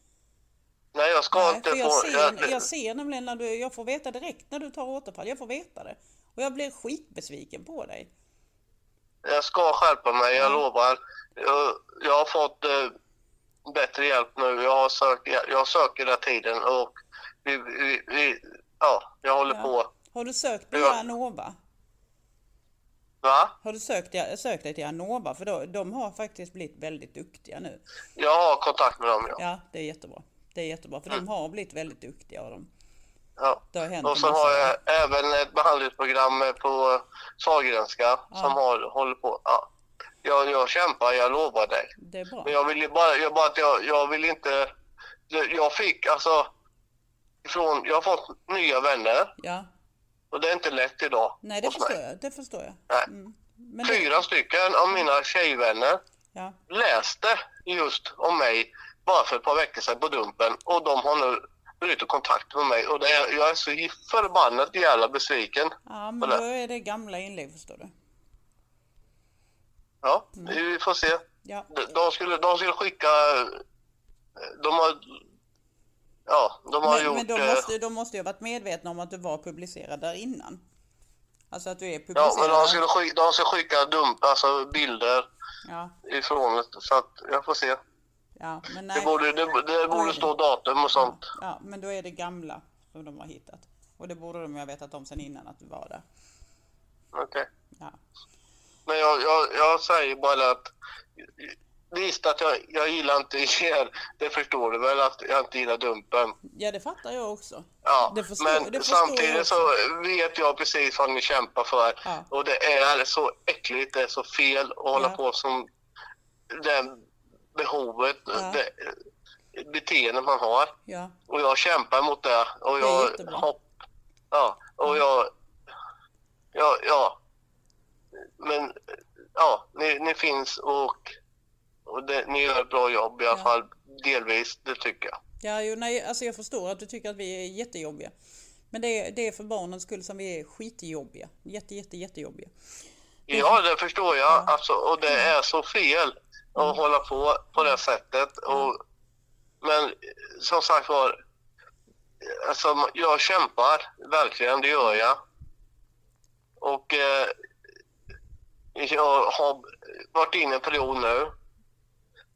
[SPEAKER 3] Nej, jag ska
[SPEAKER 2] Nej,
[SPEAKER 3] inte
[SPEAKER 2] för jag,
[SPEAKER 3] få...
[SPEAKER 2] ser, jag ser nämligen när du, jag får veta direkt när du tar återfall, jag får veta det. Och jag blir skitbesviken på dig.
[SPEAKER 3] Jag ska skärpa mig, jag lovar. Jag, jag har fått eh, bättre hjälp nu. Jag, har sökt, jag, jag söker hela tiden och vi, vi, vi, ja, jag håller på.
[SPEAKER 2] Har du sökt
[SPEAKER 3] Ja.
[SPEAKER 2] via Anova?
[SPEAKER 3] Va?
[SPEAKER 2] Har du sökt, sökt dig till Anova? För då, de har faktiskt blivit väldigt duktiga nu.
[SPEAKER 3] Jag har kontakt med dem, ja. Mm.
[SPEAKER 2] Ja, det är jättebra. Det är jättebra, för de har blivit väldigt duktiga. Och de,
[SPEAKER 3] ja.
[SPEAKER 2] det har hänt
[SPEAKER 3] Och
[SPEAKER 2] en
[SPEAKER 3] så
[SPEAKER 2] massa.
[SPEAKER 3] har jag även ett behandlingsprogram eh, på Sahlgrenska som har, håller på. Ja. Jag, jag kämpar, jag lovar dig.
[SPEAKER 2] Det är bra.
[SPEAKER 3] Men jag vill ju bara, jag bara att jag, jag vill inte, jag fick alltså, ifrån, jag har fått nya vänner
[SPEAKER 2] Ja.
[SPEAKER 3] och det är inte lätt idag.
[SPEAKER 2] Nej, det
[SPEAKER 3] hos
[SPEAKER 2] förstår
[SPEAKER 3] mig.
[SPEAKER 2] jag. Det förstår jag. Mm.
[SPEAKER 3] Nej.
[SPEAKER 2] Men det,
[SPEAKER 3] Fyra stycken av mina tjejvänner
[SPEAKER 2] ja.
[SPEAKER 3] läste just om mig bara för ett par veckor sedan på Dumpen och de har nu brutit kontakt med mig och det är, jag är så förbannat jävla besviken.
[SPEAKER 2] ja, men
[SPEAKER 3] på det.
[SPEAKER 2] då är det gamla inlägg, förstår du.
[SPEAKER 3] Ja,
[SPEAKER 2] Mm.
[SPEAKER 3] vi får se.
[SPEAKER 2] Ja.
[SPEAKER 3] De- De skulle, de skulle skicka... De har... Ja, de har
[SPEAKER 2] Men,
[SPEAKER 3] gjort...
[SPEAKER 2] men
[SPEAKER 3] eh,
[SPEAKER 2] de, måste, de måste ju ha varit medvetna om att du var publicerad där innan. Alltså att du är publicerad.
[SPEAKER 3] ja, men de skulle, skicka, de skulle skicka dump, alltså bilder
[SPEAKER 2] ja,
[SPEAKER 3] ifrån det, så att jag får se.
[SPEAKER 2] ja, men nej.
[SPEAKER 3] Det borde, det, det borde stå datum och sånt.
[SPEAKER 2] Ja, men då är det gamla som de har hittat. Och det borde de ju ha vetat om sen innan att du var där.
[SPEAKER 3] Okej.
[SPEAKER 2] Ja,
[SPEAKER 3] Men jag, jag, jag säger bara att... Visst att jag, jag gillar inte er, det förstår du väl att jag inte gillar dumpen.
[SPEAKER 2] ja det fattar jag också.
[SPEAKER 3] Ja,
[SPEAKER 2] det förstår,
[SPEAKER 3] men
[SPEAKER 2] det förstår jag
[SPEAKER 3] samtidigt
[SPEAKER 2] också.
[SPEAKER 3] så vet jag precis vad ni kämpar för.
[SPEAKER 2] Ja.
[SPEAKER 3] Och det är så äckligt, det är så fel att hålla
[SPEAKER 2] Ja.
[SPEAKER 3] på som det behovet,
[SPEAKER 2] Ja.
[SPEAKER 3] det beteende man har.
[SPEAKER 2] Ja,
[SPEAKER 3] Och jag kämpar mot det. Och
[SPEAKER 2] Det är
[SPEAKER 3] jag
[SPEAKER 2] jättebra. Mm.
[SPEAKER 3] hopp, Ja, och jag... Ja, ja. Men ja, ni, ni finns och, och det, ni gör ett bra jobb i alla
[SPEAKER 2] Ja.
[SPEAKER 3] fall. Delvis, det tycker jag.
[SPEAKER 2] ja jo, nej, alltså jag förstår att du tycker att vi är jättejobbiga. Men det är, det är för barnens skull som vi är skitjobbiga. Jätte, jätte, jättejobbiga.
[SPEAKER 3] Ja, det förstår jag. Alltså, och det är så fel att hålla på på det sättet. Och, men som sagt var, alltså, jag kämpar verkligen, det gör jag. Och eh, jag har varit inne i en period nu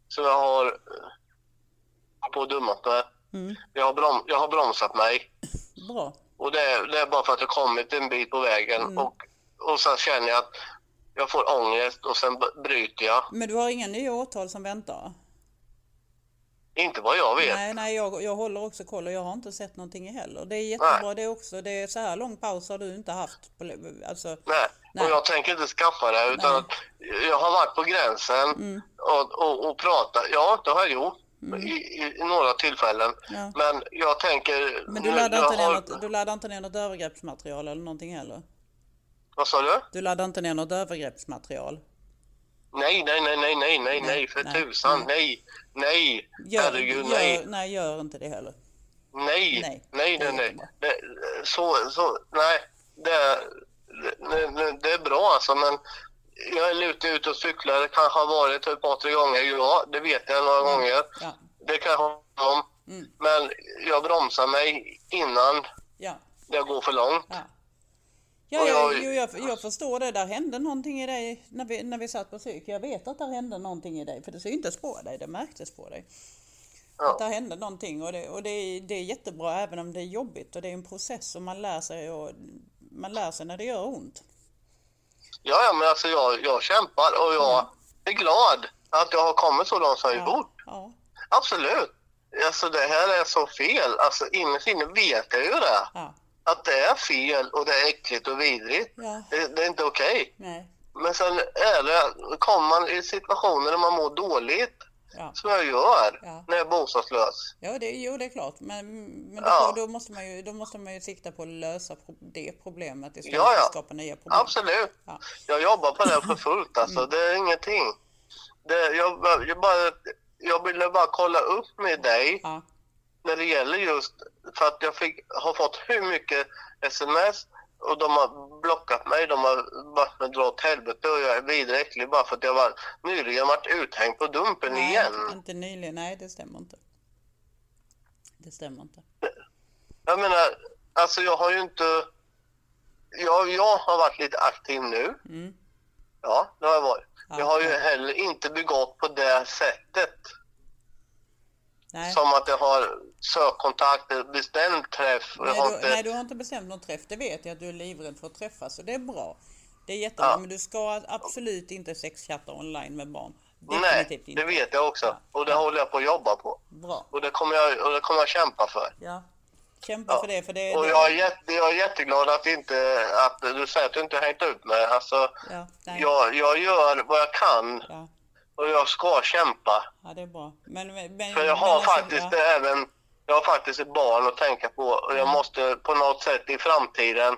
[SPEAKER 3] som jag har eh, på och dummat mig. Jag, har brom- jag har bromsat mig.
[SPEAKER 2] Bra.
[SPEAKER 3] Och det är, det är bara för att jag kommit en bit på vägen
[SPEAKER 2] Mm.
[SPEAKER 3] och, och sen känner jag att jag får ångest och sen b- bryter jag.
[SPEAKER 2] Men du har inga nya åtal som väntar?
[SPEAKER 3] Inte vad jag vet.
[SPEAKER 2] Nej, nej jag, jag håller också koll och jag har inte sett någonting heller. Det är jättebra det också. Det är så här lång paus har du inte haft. På, alltså,
[SPEAKER 3] Nej.
[SPEAKER 2] Nej.
[SPEAKER 3] Och jag tänker inte skaffa det utan att jag har varit på gränsen
[SPEAKER 2] Mm.
[SPEAKER 3] och, och, och pratat. Ja, det har jag gjort i, i, i några tillfällen.
[SPEAKER 2] Ja.
[SPEAKER 3] Men jag tänker...
[SPEAKER 2] men du
[SPEAKER 3] nu-
[SPEAKER 2] laddar,
[SPEAKER 3] jag
[SPEAKER 2] inte ner
[SPEAKER 3] har-
[SPEAKER 2] något, du laddar inte ner något övergreppsmaterial eller någonting heller?
[SPEAKER 3] Vad sa du?
[SPEAKER 2] Du laddar inte ner något övergreppsmaterial?
[SPEAKER 3] Nej, nej, nej, nej, nej, nej, nej, för
[SPEAKER 2] nej,
[SPEAKER 3] tusan, nej, nej, herregud,
[SPEAKER 2] gör,
[SPEAKER 3] nej.
[SPEAKER 2] nej, gör inte det heller. Nej,
[SPEAKER 3] Nej, nej, nej,
[SPEAKER 2] det är
[SPEAKER 3] nej.
[SPEAKER 2] jättebra.
[SPEAKER 3] Det, så, så, nej, det, är- det, det- det är bra alltså, men jag är lite ute och cyklar. Det kanske har varit ett par, tre gånger. Ja, det vet jag några
[SPEAKER 2] Mm.
[SPEAKER 3] gånger.
[SPEAKER 2] Ja,
[SPEAKER 3] Det kan jag ha om.
[SPEAKER 2] Mm.
[SPEAKER 3] Men jag bromsar mig innan
[SPEAKER 2] ja,
[SPEAKER 3] det går för långt.
[SPEAKER 2] ja. Ja,
[SPEAKER 3] Och
[SPEAKER 2] jag,
[SPEAKER 3] jag- alltså-
[SPEAKER 2] jo, jag, jag förstår det. Där hände någonting i dig när vi, när vi satt på psyk. Jag vet att där hände någonting i dig, för det syntes på dig. Det märktes på dig.
[SPEAKER 3] Ja.
[SPEAKER 2] Att där hände någonting och, det, och det, är, det är jättebra även om det är jobbigt och det är en process och man lär sig och man lär sig när det gör ont.
[SPEAKER 3] Ja, ja, men alltså jag, jag kämpar och jag är glad att jag har kommit så långt som jag gjort.
[SPEAKER 2] Mm. Ja,
[SPEAKER 3] Absolut. Alltså det här är så fel. Alltså innerst inne vet jag ju det.
[SPEAKER 2] ja,
[SPEAKER 3] att det är fel och det är äckligt och vidrigt.
[SPEAKER 2] Ja.
[SPEAKER 3] Det, det är inte okej.
[SPEAKER 2] nej,
[SPEAKER 3] Men sen är det, kommer man i situationer där man mår dåligt,
[SPEAKER 2] ja.
[SPEAKER 3] som jag gör
[SPEAKER 2] Ja.
[SPEAKER 3] när jag är bostadslös.
[SPEAKER 2] Ja, det, jo, det är klart. Men, men då,
[SPEAKER 3] Ja.
[SPEAKER 2] då, måste man ju, då måste man ju sikta på att lösa pro- det problemet istället
[SPEAKER 3] Ja,
[SPEAKER 2] för
[SPEAKER 3] ja.
[SPEAKER 2] att skapa nya problem.
[SPEAKER 3] Absolut.
[SPEAKER 2] Ja. Mm.
[SPEAKER 3] Jag jobbar på det för fullt alltså. Det är ingenting. Det, jag, jag, bara, jag ville bara kolla upp med dig
[SPEAKER 2] Ja,
[SPEAKER 3] när det gäller just, för att jag fick, har fått hur mycket sms och de har blockat mig, de har varit med dra åt helvete och jag är vidräcklig bara för att jag var, nyligen varit uthängd på Dumpen igen.
[SPEAKER 4] Inte nyligen, nej det stämmer inte. Det stämmer inte.
[SPEAKER 3] Jag menar, alltså jag har ju inte... Jag, jag har varit lite aktiv nu.
[SPEAKER 4] Mm.
[SPEAKER 3] Ja, det har jag varit. Jag har ju heller inte begått på det sättet.
[SPEAKER 4] Nej.
[SPEAKER 3] Som att jag har sökkontakter, bestämd träff. och Jag
[SPEAKER 4] Nej
[SPEAKER 3] har
[SPEAKER 4] du,
[SPEAKER 3] inte,
[SPEAKER 4] nej, du har inte bestämt någon träff. Det vet jag att du är livrädd för att träffas och det är bra. Det är jättebra,
[SPEAKER 3] Ja.
[SPEAKER 4] men du ska absolut inte sexchatta online med barn.
[SPEAKER 3] nej
[SPEAKER 4] Definitivt
[SPEAKER 3] det
[SPEAKER 4] inte.
[SPEAKER 3] vet jag också. Och det håller jag på att jobba på.
[SPEAKER 4] Bra.
[SPEAKER 3] Och det kommer jag, och det kommer jag kämpa för.
[SPEAKER 4] Ja. Kämpa för det, för det är...
[SPEAKER 3] Och
[SPEAKER 4] det-
[SPEAKER 3] jag är, jätte, jag är jätteglad att, inte, att du säger att du inte har hängt ut mig. Alltså,
[SPEAKER 4] Ja, nej.
[SPEAKER 3] jag, jag gör vad jag kan
[SPEAKER 4] Ja.
[SPEAKER 3] och jag ska kämpa.
[SPEAKER 4] ja, det är bra. Men, men, men,
[SPEAKER 3] För jag har
[SPEAKER 4] alltså,
[SPEAKER 3] faktiskt
[SPEAKER 4] ja.
[SPEAKER 3] även jag har faktiskt ett barn att tänka på och
[SPEAKER 4] Mm.
[SPEAKER 3] jag måste på något sätt i framtiden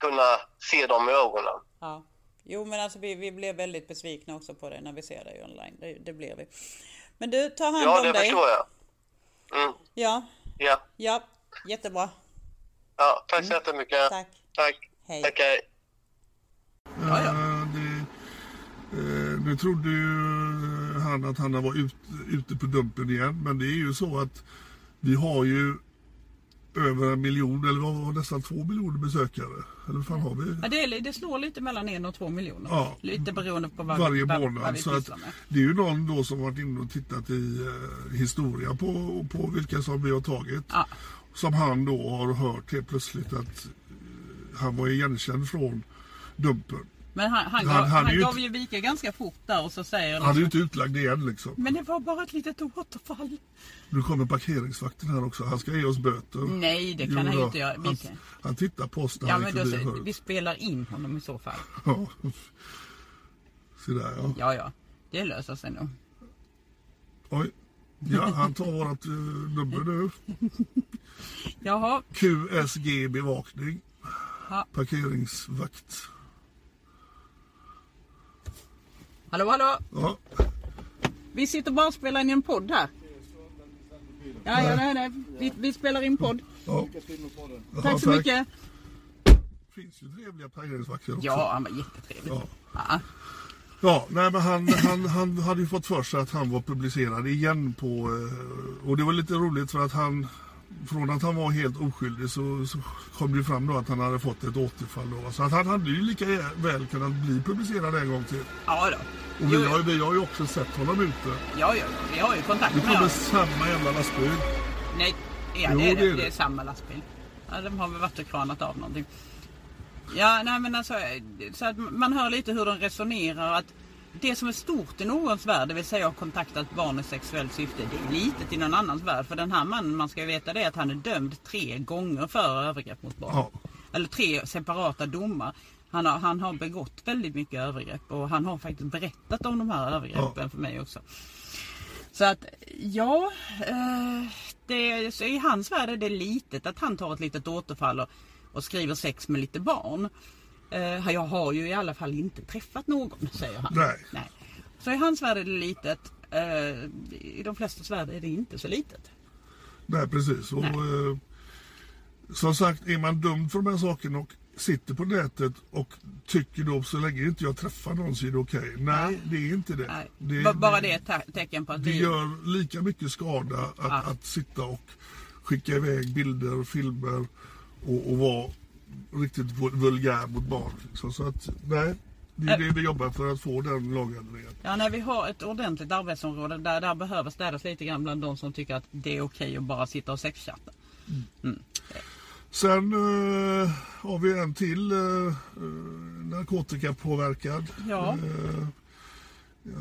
[SPEAKER 3] kunna se dem i ögonen.
[SPEAKER 4] Ja. Jo men alltså vi, vi blev väldigt besvikna också på det när vi ser dig online. Det, det blev vi. Men du, ta hand
[SPEAKER 3] Ja,
[SPEAKER 4] om
[SPEAKER 3] det
[SPEAKER 4] dig.
[SPEAKER 3] förstår jag. Mm,
[SPEAKER 4] Ja,
[SPEAKER 3] ja.
[SPEAKER 4] ja, jättebra.
[SPEAKER 3] ja, tack så jättemycket.
[SPEAKER 4] Mm. Tack.
[SPEAKER 3] Tack.
[SPEAKER 4] Hej.
[SPEAKER 3] Tack, hej.
[SPEAKER 2] Ja, ja.
[SPEAKER 1] Eh, Det, eh, nu trodde ju eh, han att han var ut, ute på dumpen igen. Men det är ju så att vi har ju över en miljon, eller vad var det, nästan två miljoner besökare. Eller vad fan
[SPEAKER 2] Mm.
[SPEAKER 1] har vi?
[SPEAKER 2] Ja, det, är, det slår lite mellan en och två miljoner.
[SPEAKER 1] Ja.
[SPEAKER 2] Lite beroende på vad,
[SPEAKER 1] varje
[SPEAKER 2] vad, vad
[SPEAKER 1] månad.
[SPEAKER 2] vi
[SPEAKER 1] Så att
[SPEAKER 2] pysslar med.
[SPEAKER 1] det är ju någon då som varit inne och tittat i eh, historia på, på vilka som vi har tagit.
[SPEAKER 2] Ja.
[SPEAKER 1] Som han då har hört helt plötsligt att eh, han var igenkänd från Dumpen.
[SPEAKER 2] Men han, han,
[SPEAKER 1] Han-
[SPEAKER 2] gav,
[SPEAKER 1] han
[SPEAKER 2] han,
[SPEAKER 1] är ju
[SPEAKER 2] gav
[SPEAKER 1] inte-
[SPEAKER 2] ju vika ganska fort där och så säger
[SPEAKER 1] Han är
[SPEAKER 2] han
[SPEAKER 1] ju inte utlagd igen liksom.
[SPEAKER 2] Men det var bara ett litet återfall.
[SPEAKER 1] Nu kommer parkeringsvakten här också. Han ska ge oss böter.
[SPEAKER 2] Nej, det kan
[SPEAKER 1] Jo
[SPEAKER 2] han ju
[SPEAKER 1] då.
[SPEAKER 2] inte göra. Vi
[SPEAKER 1] Han,
[SPEAKER 2] kan-
[SPEAKER 1] han tittar på oss när
[SPEAKER 2] Ja,
[SPEAKER 1] han
[SPEAKER 2] men
[SPEAKER 1] gick
[SPEAKER 2] då,
[SPEAKER 1] förbi
[SPEAKER 2] så-
[SPEAKER 1] förut.
[SPEAKER 2] vi spelar in honom i så fall.
[SPEAKER 1] Ja. Se där ja.
[SPEAKER 2] Ja, ja. Det löser sig nog.
[SPEAKER 1] Oj. Ja, han tar vårat eh, nummer nu.
[SPEAKER 2] Jaha,
[SPEAKER 1] QSG bevakning.
[SPEAKER 2] Ja.
[SPEAKER 1] Parkeringsvakt.
[SPEAKER 2] hallå, hallå.
[SPEAKER 1] Ja,
[SPEAKER 2] Vi sitter bara och spelar in en podd här. Ja, ja, nej, nej. Vi, vi spelar in podd.
[SPEAKER 1] ja.
[SPEAKER 2] Tack så mycket.
[SPEAKER 1] Det finns ju trevliga parkeringsvakter också.
[SPEAKER 2] Ja, han var jättetrevlig.
[SPEAKER 1] Ja.
[SPEAKER 2] Ja.
[SPEAKER 1] Ja, nej, men han, han, han hade ju fått för sig att han var publicerad igen på... eh, Och det var lite roligt för att han... Från att han var helt oskyldig så, så kom det ju fram då att han hade fått ett återfall. Då. Så att han hade ju lika väl kunnat bli publicerad en gång till.
[SPEAKER 2] Ja, då.
[SPEAKER 1] Och
[SPEAKER 2] Jo,
[SPEAKER 1] vi har, ju- vi har ju också sett honom ute.
[SPEAKER 2] Ja, ja, vi har ju kontakt
[SPEAKER 1] Det
[SPEAKER 2] med
[SPEAKER 1] kommer
[SPEAKER 2] honom.
[SPEAKER 1] samma jävla lastbil.
[SPEAKER 2] Nej, ja,
[SPEAKER 1] Jo,
[SPEAKER 2] det, är
[SPEAKER 1] det är
[SPEAKER 2] det.
[SPEAKER 1] det.
[SPEAKER 2] det är samma lastbil. Ja, de har väl varit och kranat av någonting. Ja, nej men alltså, så att man hör lite hur de resonerar. Att det som är stort i någons värld, det vill säga att ha kontaktat barn i sexuellt syfte, det är litet i någon annans värld. För den här mannen, man ska ju veta det, att han är dömd tre gånger för övergrepp mot barn.
[SPEAKER 1] Ja.
[SPEAKER 2] Eller tre separata domar. Han har, han har begått väldigt mycket övergrepp och han har faktiskt berättat om de här övergreppen för mig också. Så att ja, eh, det, så i hans värld är det litet att han tar ett litet återfall och, och skriver sex med lite barn. Eh, jag har ju i alla fall inte träffat någon, säger han.
[SPEAKER 1] Nej.
[SPEAKER 2] Så i hans värld är det litet. Eh, I de flestas värld är det inte så litet.
[SPEAKER 1] Nej, precis. Och, eh, som sagt, är man dömd för de här sakerna och sitter på nätet och tycker då så länge inte jag träffar någon så är det okej. Nej, det är inte det.
[SPEAKER 2] Nej.
[SPEAKER 1] det
[SPEAKER 2] B- Bara det är ett te- tecken på att
[SPEAKER 1] Det
[SPEAKER 2] vi...
[SPEAKER 1] gör lika mycket skada att, att sitta och skicka iväg bilder, filmer och, och vara riktigt vul- vulgär mot barn. Så, så att, nej, det är det vi jobbar för att få den lagändringen.
[SPEAKER 2] Ja, när vi har ett ordentligt arbetsområde där, där behöver städas lite grann bland de som tycker att det är okej att bara sitta och sexchatta.
[SPEAKER 1] Sen eh, har vi en till eh, eh, narkotikapåverkad.
[SPEAKER 2] Ja.
[SPEAKER 1] Eh,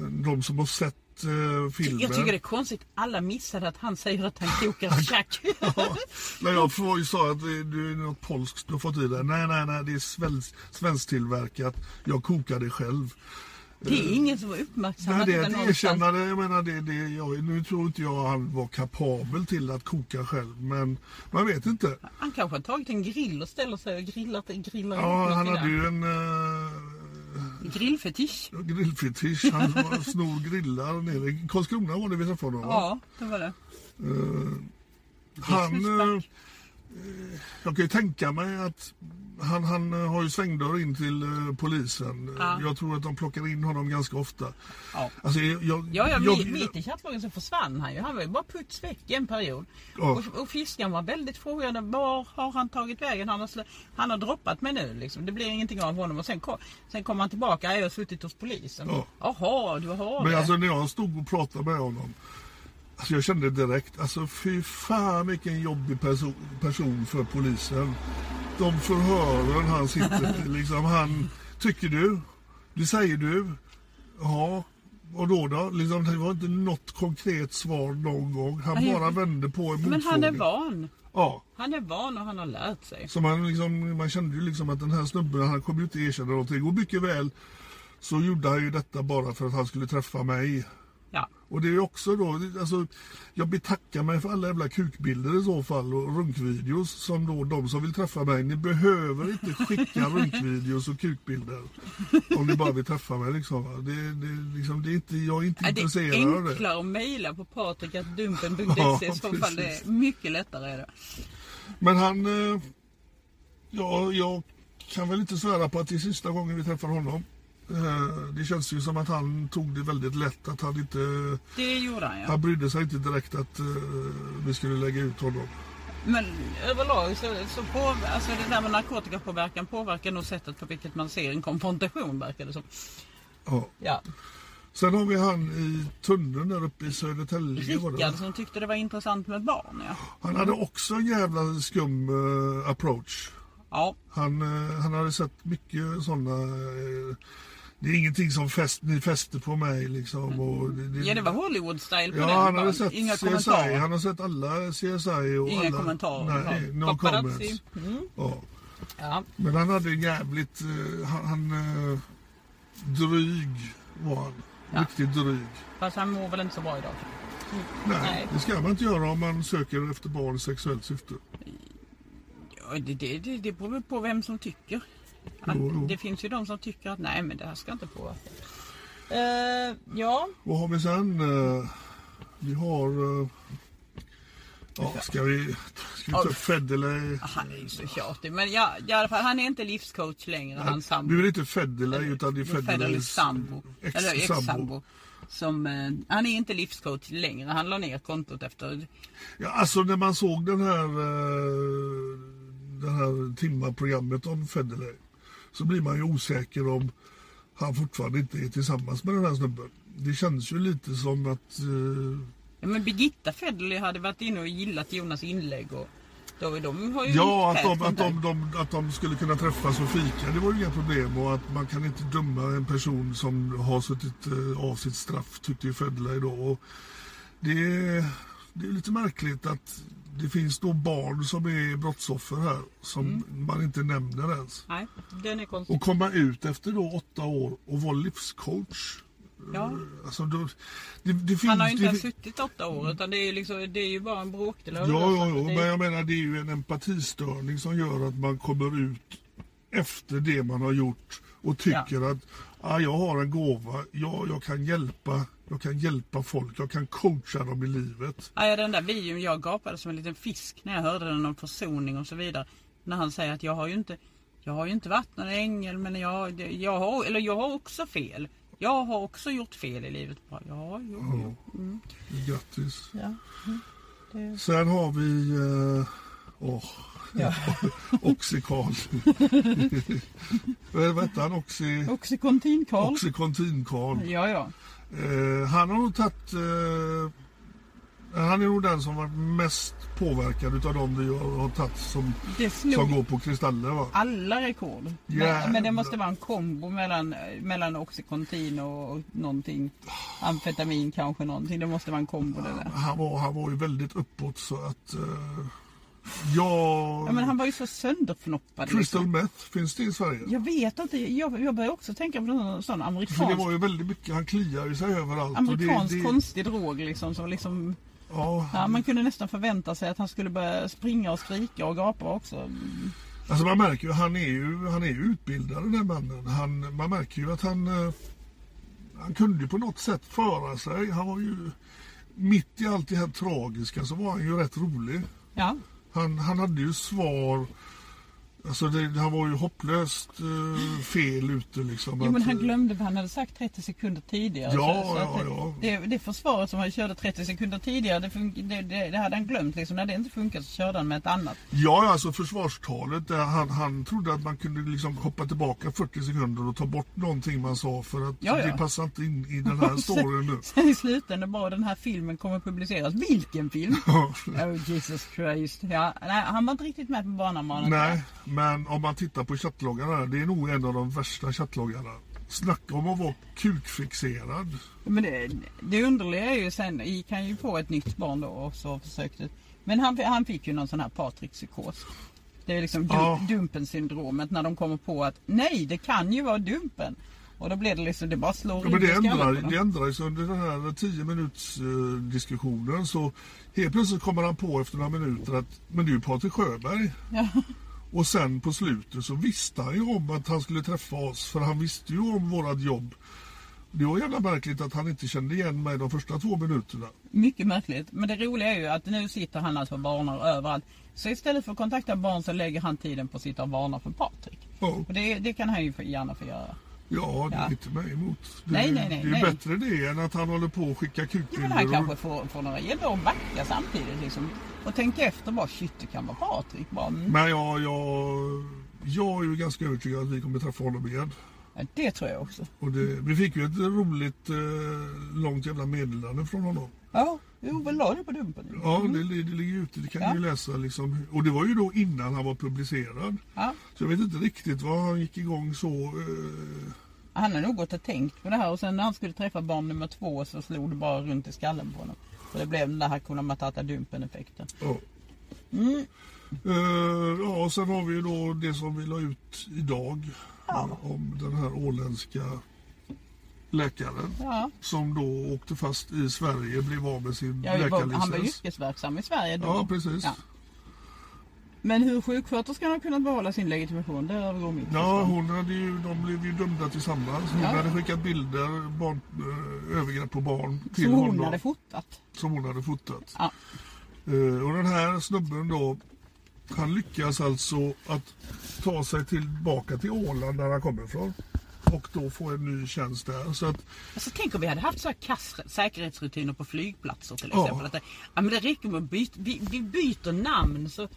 [SPEAKER 1] de som har sett eh, filmen.
[SPEAKER 2] Jag tycker det är konstigt, alla missade att han säger att han kokar tjack.
[SPEAKER 1] Ja, när jag får- sa att det det är något polskt du har fått i dig. Nej, nej, nej, det är svensk, svensktillverkat. Jag kokar det själv.
[SPEAKER 2] Det är ingen som har uppmärksammat
[SPEAKER 1] Nej, det är
[SPEAKER 2] någonstans.
[SPEAKER 1] ett erkännande. Jag menar, det, det, jag, nu tror inte jag han var kapabel till att koka själv, men man vet inte.
[SPEAKER 2] Han kanske har tagit en grill och ställer sig och grillar, grillar
[SPEAKER 1] Ja,
[SPEAKER 2] ihop
[SPEAKER 1] han
[SPEAKER 2] något
[SPEAKER 1] hade
[SPEAKER 2] där.
[SPEAKER 1] ju en eh,
[SPEAKER 2] Grillfetisch.
[SPEAKER 1] grillfetisch. Han snor grillar nere i Karlskrona var det vi träffade honom va?
[SPEAKER 2] Ja, det var det.
[SPEAKER 1] Eh, Han, eh,
[SPEAKER 2] Businessback.
[SPEAKER 1] jag kan ju tänka mig att han, han eh, har ju svängdörr in till eh, polisen. Eh, Jag tror att de plockar in honom ganska ofta.
[SPEAKER 2] Ja.
[SPEAKER 1] Alltså, jag, jag,
[SPEAKER 2] Ja, ja,
[SPEAKER 1] jag-
[SPEAKER 2] mi- mitt i jaktlagen så försvann han ju. Han var ju bara putsväck i en period.
[SPEAKER 1] Ja.
[SPEAKER 2] Och, och fiskaren var väldigt frågande. Var har han tagit vägen? Han har, slä- han har droppat mig nu liksom. Det blir ingenting av honom. Och sen kom, sen kom han tillbaka. "Nej, Jag har suttit hos polisen.
[SPEAKER 1] Ja.
[SPEAKER 2] Jaha, du har
[SPEAKER 1] Men
[SPEAKER 2] det.
[SPEAKER 1] alltså när jag stod och pratade med honom. Alltså jag kände direkt, alltså fy fan vilken jobbig perso- person för polisen. De förhören han sitter i, liksom han, tycker du? Det säger du? Ja. Och då då? Liksom, det var inte något konkret svar någon gång. Han
[SPEAKER 2] Nej, jag-
[SPEAKER 1] bara vände på en
[SPEAKER 2] Men han är
[SPEAKER 1] motfråga.
[SPEAKER 2] van.
[SPEAKER 1] Ja.
[SPEAKER 2] Han är van och han har lärt sig.
[SPEAKER 1] Så man, liksom, man kände ju liksom att den här snubben, han kommer ju inte erkänna någonting. Och mycket väl så gjorde han ju detta bara för att han skulle träffa mig.
[SPEAKER 2] Ja.
[SPEAKER 1] Och det är ju också då, alltså, jag betackar mig för alla jävla kukbilder i så fall och runkvideos som då de som vill träffa mig, ni behöver inte skicka runkvideos och kukbilder om ni bara vill träffa mig liksom. va. Det, det, liksom det är inte, jag är inte
[SPEAKER 2] Ja, Det är
[SPEAKER 1] intresserad av det.
[SPEAKER 2] enklare att mejla på
[SPEAKER 1] Ja,
[SPEAKER 2] patrikatdumpen.se i så fall. Det
[SPEAKER 1] precis.
[SPEAKER 2] är mycket lättare. Är det.
[SPEAKER 1] Men han, eh, ja, jag kan väl inte svära på att det är sista gången vi träffar honom. Eh, Det känns ju som att han tog det väldigt lätt, att han inte,
[SPEAKER 2] det gjorde han ja.
[SPEAKER 1] han brydde sig inte direkt att eh, vi skulle lägga ut honom.
[SPEAKER 2] Men överlag så, så på, alltså det där med narkotikapåverkan påverkar nog sättet på vilket man ser en konfrontation verkar det som.
[SPEAKER 1] Ja.
[SPEAKER 2] Ja.
[SPEAKER 1] Sen har vi han i tunneln där uppe i Södertälje. Var det.
[SPEAKER 2] Rickard som tyckte det var intressant med barn ja.
[SPEAKER 1] Han hade också en jävla skum eh, approach.
[SPEAKER 2] Ja,
[SPEAKER 1] Han, eh, han hade sett mycket sådana... det är ingenting som fäst, ni fäster på mig liksom. Och det,
[SPEAKER 2] Mm. ja det var Hollywood-style på den.
[SPEAKER 1] Ja, han hade
[SPEAKER 2] bara.
[SPEAKER 1] sett
[SPEAKER 2] Inga
[SPEAKER 1] CSI.
[SPEAKER 2] kommentarer.
[SPEAKER 1] Han har sett alla CSI och
[SPEAKER 2] Inga
[SPEAKER 1] alla...
[SPEAKER 2] kommentarer.
[SPEAKER 1] Nej,
[SPEAKER 2] Ja. Mm.
[SPEAKER 1] no
[SPEAKER 2] Paparazzi.
[SPEAKER 1] comments. Ja.
[SPEAKER 2] Ja.
[SPEAKER 1] Men han hade en jävligt... eh, han, han eh, dryg var han.
[SPEAKER 2] Ja.
[SPEAKER 1] Riktigt dryg.
[SPEAKER 2] Fast han mår väl inte så bra idag.
[SPEAKER 1] Nej,
[SPEAKER 2] Nej.
[SPEAKER 1] det ska man inte göra om man söker efter barn i sexuellt syfte.
[SPEAKER 2] Ja, det, det, det, det beror väl på vem som tycker. Att,
[SPEAKER 1] Jo, jo.
[SPEAKER 2] det finns ju de som tycker att nej men det här ska inte påverka. Eh, ja,
[SPEAKER 1] Vad har vi sen? Eh, Vi har... eh, Ja, ska vi, ska vi ta upp Fed eller...
[SPEAKER 2] han är ju så tjatig. Men ja, i alla fall, han är inte livscoach längre. Han sambo.
[SPEAKER 1] Nu är det inte Federley utan det är
[SPEAKER 2] Federley
[SPEAKER 1] Federleys eh,
[SPEAKER 2] sambo.
[SPEAKER 1] ex-
[SPEAKER 2] Eller
[SPEAKER 1] sambo.
[SPEAKER 2] ex-sambo. Som, eh, han är inte livscoach längre. Han la ner kontot efter...
[SPEAKER 1] Ja, alltså när man såg den här, eh, den här timmarprogrammet om Federley så blir man ju osäker om han fortfarande inte är tillsammans med den här snubben. Det känns ju lite som att... eh,
[SPEAKER 2] Ja, men Birgitta Federley hade varit inne och gillat Jonas inlägg och då, de har ju
[SPEAKER 1] Ja, att
[SPEAKER 2] tät
[SPEAKER 1] de, att, de,
[SPEAKER 2] kontakt.
[SPEAKER 1] de, att de skulle kunna träffas och fika, det var ju inga problem. Och att man kan inte döma en person som har suttit eh, av sitt straff, tyckte ju Federley då. Och det, är- det är lite märkligt att det finns då barn som är brottsoffer här, som
[SPEAKER 2] Mm.
[SPEAKER 1] man inte nämner ens.
[SPEAKER 2] Nej, den är konstig.
[SPEAKER 1] Och komma ut efter då åtta år och vara livscoach.
[SPEAKER 2] Ja.
[SPEAKER 1] Alltså, då, det, det finns,
[SPEAKER 2] Han har ju inte
[SPEAKER 1] det,
[SPEAKER 2] ens suttit åtta år utan det är ju, liksom, det är ju bara en bråkdel av
[SPEAKER 1] Ja,
[SPEAKER 2] det, så
[SPEAKER 1] ja,
[SPEAKER 2] att
[SPEAKER 1] ja,
[SPEAKER 2] det
[SPEAKER 1] men
[SPEAKER 2] är-
[SPEAKER 1] jag menar det är ju en empatistörning som gör att man kommer ut efter det man har gjort och tycker att ah, jag har en gåva, ja, jag, kan hjälpa, jag kan hjälpa folk, jag kan coacha dem i livet.
[SPEAKER 2] Ja, ja, den där videon, jag gapade som en liten fisk när jag hörde den om försoning och så vidare. När han säger att jag har ju inte, jag har ju inte varit någon ängel men jag, det- jag, har, eller jag har också fel. Jag har också gjort fel i livet. Bara, Ja, jo,
[SPEAKER 1] Mm.
[SPEAKER 2] jo.
[SPEAKER 1] Grattis.
[SPEAKER 2] Mm. Ja. Mm.
[SPEAKER 1] Sen har vi eh, åh, Oxycal. Vad hette han? Oxy,
[SPEAKER 2] Oxycontin Karl.
[SPEAKER 1] Oxycontin-Carl.
[SPEAKER 2] Ja, ja.
[SPEAKER 1] Eh, han har nog tagit... Eh, han är nog den som varit mest påverkad utav de vi har, har tagit som,
[SPEAKER 2] Det
[SPEAKER 1] som
[SPEAKER 2] slog
[SPEAKER 1] går på kristaller. Va?
[SPEAKER 2] alla rekord.
[SPEAKER 1] Jävlar.
[SPEAKER 2] Men, men det måste vara en kombo mellan, mellan Oxycontin och, och någonting. Amfetamin kanske någonting. Det måste vara en kombo det där.
[SPEAKER 1] Han, var, han var ju väldigt uppåt så att... Eh,
[SPEAKER 2] Ja,
[SPEAKER 1] jag...
[SPEAKER 2] men han var ju så sönderfnoppad. liksom.
[SPEAKER 1] Crystal Meth, finns det i Sverige?
[SPEAKER 2] Jag vet inte, jag, jag börjar också tänka på någon sån
[SPEAKER 1] För det
[SPEAKER 2] amerikansk,
[SPEAKER 1] var ju väldigt mycket, han kliar ju sig överallt. och
[SPEAKER 2] amerikansk
[SPEAKER 1] Alltså, det, det,
[SPEAKER 2] konstig drog liksom. Som liksom
[SPEAKER 1] ja,
[SPEAKER 2] ja, man kunde nästan förvänta sig att han skulle börja springa och skrika och gapa också.
[SPEAKER 1] Alltså man märker ju, han är ju, han är ju utbildad den här mannen. Han, man märker ju att han, eh, han kunde ju på något sätt föra sig. Han var ju, mitt i allt det här tragiska så var han ju rätt rolig.
[SPEAKER 2] Ja.
[SPEAKER 1] Han, han hade ju svar. Alltså det, han var ju hopplöst eh, fel ute liksom.
[SPEAKER 2] Jo, men
[SPEAKER 1] Att,
[SPEAKER 2] han
[SPEAKER 1] eh,
[SPEAKER 2] glömde vad han hade sagt 30 sekunder tidigare.
[SPEAKER 1] Ja,
[SPEAKER 2] så, så att
[SPEAKER 1] ja, ja.
[SPEAKER 2] Det, det försvaret som han körde 30 sekunder tidigare, det, fun- det, det, det hade han glömt. Liksom. När det inte funkar så körde han med ett annat.
[SPEAKER 1] Ja, alltså försvarstalet. Där han, han trodde att man kunde liksom hoppa tillbaka 40 sekunder och ta bort någonting man sa för att
[SPEAKER 2] Ja, ja.
[SPEAKER 1] det passar inte in i den här storyn nu.
[SPEAKER 2] Sen i slutändan bara den här filmen kommer publiceras. Vilken film? oh Jesus Christ. Ja, nej, han var inte riktigt med på banan mannen.
[SPEAKER 1] Nej, men om man tittar på chattloggarna här, det är nog en av de värsta chattloggarna. Snacka om att vara kukfixerad.
[SPEAKER 2] Men det, det underliga är ju sen gick han ju på ett nytt barn då och så försökte. Men han, han fick ju någon sån här Patrik-psykos. Det är liksom du,
[SPEAKER 1] Ja.
[SPEAKER 2] Dumpen-syndromet när de kommer på att nej det kan ju vara Dumpen. Och då blir det liksom, det bara slår
[SPEAKER 1] Ja, men
[SPEAKER 2] in i
[SPEAKER 1] det
[SPEAKER 2] skallen på
[SPEAKER 1] ändrar,
[SPEAKER 2] dem.
[SPEAKER 1] det ändrar sig under den här 10 minuters eh, diskussionen så helt plötsligt kommer han på efter några minuter att men det är ju Patrik Sjöberg. Och sen på slutet så visste han ju om att han skulle träffa oss för han visste ju om vårat jobb. Det var jävla märkligt att han inte kände igen mig de första två minuterna.
[SPEAKER 2] Mycket märkligt. Men det roliga är ju att nu sitter han alltså och varnar överallt. Så istället för att kontakta barn så lägger han tiden på att sitta och varna för Patrik.
[SPEAKER 1] Ja,
[SPEAKER 2] Och det, det kan han ju få- gärna få göra.
[SPEAKER 1] ja det är
[SPEAKER 2] Ja.
[SPEAKER 1] inte mig emot. Det,
[SPEAKER 2] Nej,
[SPEAKER 1] är-
[SPEAKER 2] nej, nej,
[SPEAKER 1] det är
[SPEAKER 2] nej.
[SPEAKER 1] bättre det än att han håller på och skickar
[SPEAKER 2] Ja, men han
[SPEAKER 1] kukbilder.
[SPEAKER 2] kanske
[SPEAKER 1] och-
[SPEAKER 2] får, får några gäddor och backa samtidigt liksom. Och tänka efter bara shit det kan vara Patrik. Bara, mm.
[SPEAKER 1] Men jag, jag, jag är ju ganska övertygad att vi kommer träffa honom igen.
[SPEAKER 2] ja, det tror jag också.
[SPEAKER 1] Och det, vi fick ju ett roligt eh, långt jävla meddelande från honom.
[SPEAKER 2] Ja, jo väl la du på dumpen.
[SPEAKER 1] Ja, det, li- det ligger ute, det kan
[SPEAKER 2] Mm. Ja.
[SPEAKER 1] ni ju läsa liksom. Och det var ju då innan han var publicerad.
[SPEAKER 2] Ja.
[SPEAKER 1] Så jag vet inte riktigt vad han gick igång så. Eh,
[SPEAKER 2] Han har nog gått och tänkt på det här och sen när han skulle träffa barn nummer två så slog det bara runt i skallen på honom. Så det blev den där Hakuna Matata Dumpen effekten.
[SPEAKER 1] ja. Eh, ja, och sen har vi ju då det som vi la ut idag. eh, Om den här åländska läkaren.
[SPEAKER 2] Ja.
[SPEAKER 1] Som då åkte fast i Sverige, blev av med sin
[SPEAKER 2] Jag var, han var
[SPEAKER 1] läkarlicens.
[SPEAKER 2] yrkesverksam i Sverige då.
[SPEAKER 1] Ja, precis.
[SPEAKER 2] Ja. Men hur sjuksköterskan har kunnat behålla sin legitimation, det övergår mitt
[SPEAKER 1] Ja,
[SPEAKER 2] förstånd.
[SPEAKER 1] hon hade ju, de blev ju dömda tillsammans. Hon
[SPEAKER 2] Ja.
[SPEAKER 1] hade skickat bilder, barn, eh, övergrepp på barn till
[SPEAKER 2] Som hon
[SPEAKER 1] honom
[SPEAKER 2] hade fotat.
[SPEAKER 1] som hon hade fotat.
[SPEAKER 2] Ja.
[SPEAKER 1] Eh, och den här snubben då, han lyckas alltså att ta sig tillbaka till Åland där han kommer ifrån. Och då få en ny tjänst där. Så att,
[SPEAKER 2] Alltså, tänk om vi hade haft så här kass, säkerhetsrutiner på flygplatser till
[SPEAKER 1] Ja.
[SPEAKER 2] exempel. Att det, ja, men det räcker med att byta, vi, vi byter namn så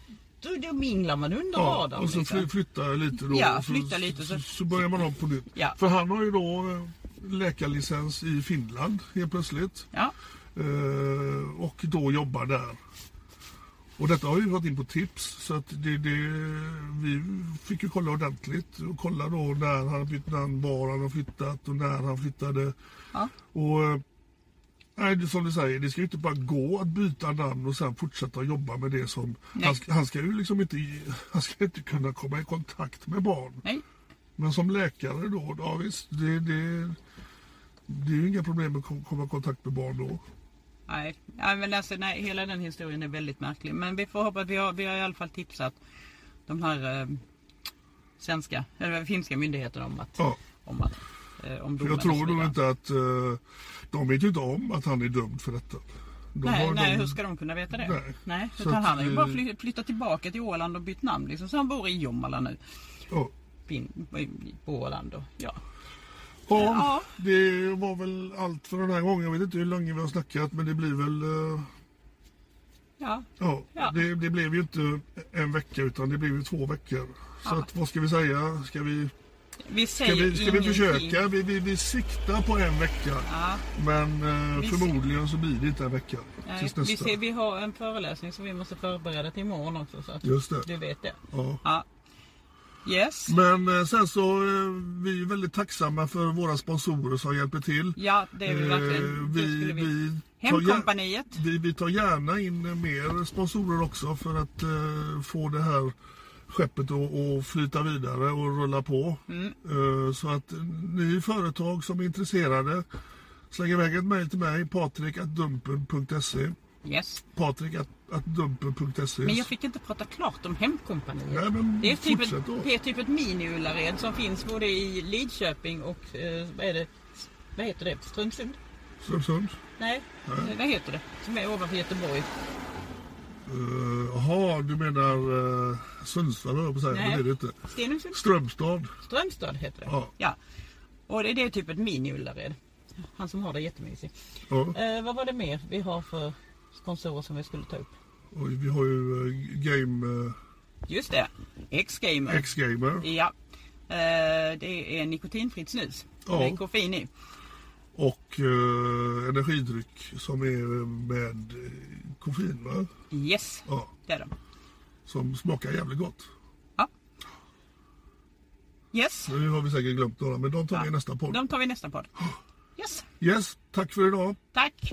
[SPEAKER 2] då, då minglar man under
[SPEAKER 1] ja,
[SPEAKER 2] radarn.
[SPEAKER 1] och så fly,
[SPEAKER 2] liksom.
[SPEAKER 1] flyttar jag lite då.
[SPEAKER 2] Ja,
[SPEAKER 1] och så-
[SPEAKER 2] flytta lite,
[SPEAKER 1] Så,
[SPEAKER 2] så-
[SPEAKER 1] så börjar man om på nytt.
[SPEAKER 2] Ja.
[SPEAKER 1] För han har ju då eh, läkarlicens i Finland helt plötsligt.
[SPEAKER 2] Ja.
[SPEAKER 1] Eh, och då jobbar där. Och detta har ju varit in på tips så att det, det, vi fick ju kolla ordentligt och kolla då när han har bytt namn, var han har flyttat och när han flyttade.
[SPEAKER 2] Ja.
[SPEAKER 1] Och eh, nej, det, är som du säger, det ska ju inte bara gå att byta namn och sen fortsätta jobba med det som... Han ska, han ska ju liksom inte, han ska inte kunna komma i kontakt med barn.
[SPEAKER 2] Nej.
[SPEAKER 1] Men som läkare då, ja visst, det, det, det är ju inga problem att kom- komma i kontakt med barn då.
[SPEAKER 2] Nej. nej, men alltså, nej, hela den historien är väldigt märklig. Men vi får hoppas, vi har, vi har i alla fall tipsat de här eh, svenska, eller finska myndigheterna om att,
[SPEAKER 1] Ja.
[SPEAKER 2] om att eh, om
[SPEAKER 1] För
[SPEAKER 2] domen
[SPEAKER 1] jag
[SPEAKER 2] och så
[SPEAKER 1] tror nog
[SPEAKER 2] vidare.
[SPEAKER 1] inte att eh, de vet ju inte om att han är dömd för detta. De
[SPEAKER 2] Nej,
[SPEAKER 1] har-
[SPEAKER 2] nej
[SPEAKER 1] de-
[SPEAKER 2] hur ska de kunna veta det?
[SPEAKER 1] Nej.
[SPEAKER 2] Nej,
[SPEAKER 1] Så
[SPEAKER 2] utan
[SPEAKER 1] att,
[SPEAKER 2] han har ju
[SPEAKER 1] eh,
[SPEAKER 2] bara fly- flyttat tillbaka till Åland och bytt namn liksom. Så han bor i Jomala nu.
[SPEAKER 1] Ja.
[SPEAKER 2] Pin- På Åland och ja.
[SPEAKER 1] Ja,
[SPEAKER 2] Ja.
[SPEAKER 1] det var väl allt för den här gången. Jag vet inte hur länge vi har snackat men det blir väl... eh,
[SPEAKER 2] Ja,
[SPEAKER 1] ja,
[SPEAKER 2] Ja.
[SPEAKER 1] Det, det blev ju inte en vecka utan det blev ju två veckor. Så att, vad ska vi säga? Ska vi,
[SPEAKER 2] vi
[SPEAKER 1] ska
[SPEAKER 2] säger
[SPEAKER 1] vi, ska vi
[SPEAKER 2] ingenting.
[SPEAKER 1] försöka? Vi, vi, vi siktar på en vecka. Men eh,
[SPEAKER 2] Vi-
[SPEAKER 1] förmodligen så blir det inte en vecka.
[SPEAKER 2] Nej,
[SPEAKER 1] tills
[SPEAKER 2] vi,
[SPEAKER 1] nästa.
[SPEAKER 2] ser, vi har en föreläsning som vi måste förbereda till imorgon också. Så att
[SPEAKER 1] Just det.
[SPEAKER 2] Du vet det.
[SPEAKER 1] Ja.
[SPEAKER 2] Ja. Yes.
[SPEAKER 1] Men eh, sen så, eh, vi är väldigt tacksamma för våra sponsorer som hjälper till.
[SPEAKER 2] Ja, det är vi
[SPEAKER 1] Eh,
[SPEAKER 2] verkligen. Det
[SPEAKER 1] vi,
[SPEAKER 2] skulle vi-
[SPEAKER 1] vi, tar gär-
[SPEAKER 2] Hemkompaniet.
[SPEAKER 1] vi, vi tar gärna in eh, mer sponsorer också för att eh, få det här skeppet att att flyta vidare och rulla på.
[SPEAKER 2] Mm.
[SPEAKER 1] Eh, så att eh, ni företag som är intresserade, släng iväg ett mejl till mig, patrik.dumpen.se.
[SPEAKER 2] Yes.
[SPEAKER 1] Patrik.dumpen.se.
[SPEAKER 2] Men jag fick inte prata klart om Hemkompaniet.
[SPEAKER 1] Nej, men
[SPEAKER 2] det, är typ
[SPEAKER 1] fortsätt
[SPEAKER 2] ett,
[SPEAKER 1] då.
[SPEAKER 2] det är typ ett mini-Ullared som finns både i Lidköping och eh, vad, är det, vad heter det? Strömsund?
[SPEAKER 1] Strömsund.
[SPEAKER 2] Nej, eh, vad heter det? Som är ovanför Göteborg.
[SPEAKER 1] Eh, Jaha, du menar eh, Sundsvall höll jag på att säga.
[SPEAKER 2] Nej.
[SPEAKER 1] Men det är det inte.
[SPEAKER 2] Stenungsund.
[SPEAKER 1] Strömstad.
[SPEAKER 2] Strömstad heter det.
[SPEAKER 1] Ja.
[SPEAKER 2] ja. Och det, det är typ ett mini-Ullared. Han som har det är jättemysig.
[SPEAKER 1] Ja.
[SPEAKER 2] Eh, vad var det mer vi har för sponsorer som vi skulle ta upp?
[SPEAKER 1] Och vi har ju eh, Game eh,
[SPEAKER 2] Just det, X-Gamer.
[SPEAKER 1] X-Gamer
[SPEAKER 2] ja. Eh, det är nikotinfritt snus.
[SPEAKER 1] Ja.
[SPEAKER 2] Med koffein i.
[SPEAKER 1] och eh, energidryck som är med eh, koffein va?
[SPEAKER 2] Yes,
[SPEAKER 1] Ja.
[SPEAKER 2] det är det.
[SPEAKER 1] Som smakar jävligt gott.
[SPEAKER 2] Ja. Yes,
[SPEAKER 1] Nu har vi säkert glömt några men de tar vi i
[SPEAKER 2] Ja.
[SPEAKER 1] nästa podd.
[SPEAKER 2] de tar vi i nästa podd. Yes,
[SPEAKER 1] Yes, tack för idag.
[SPEAKER 2] tack.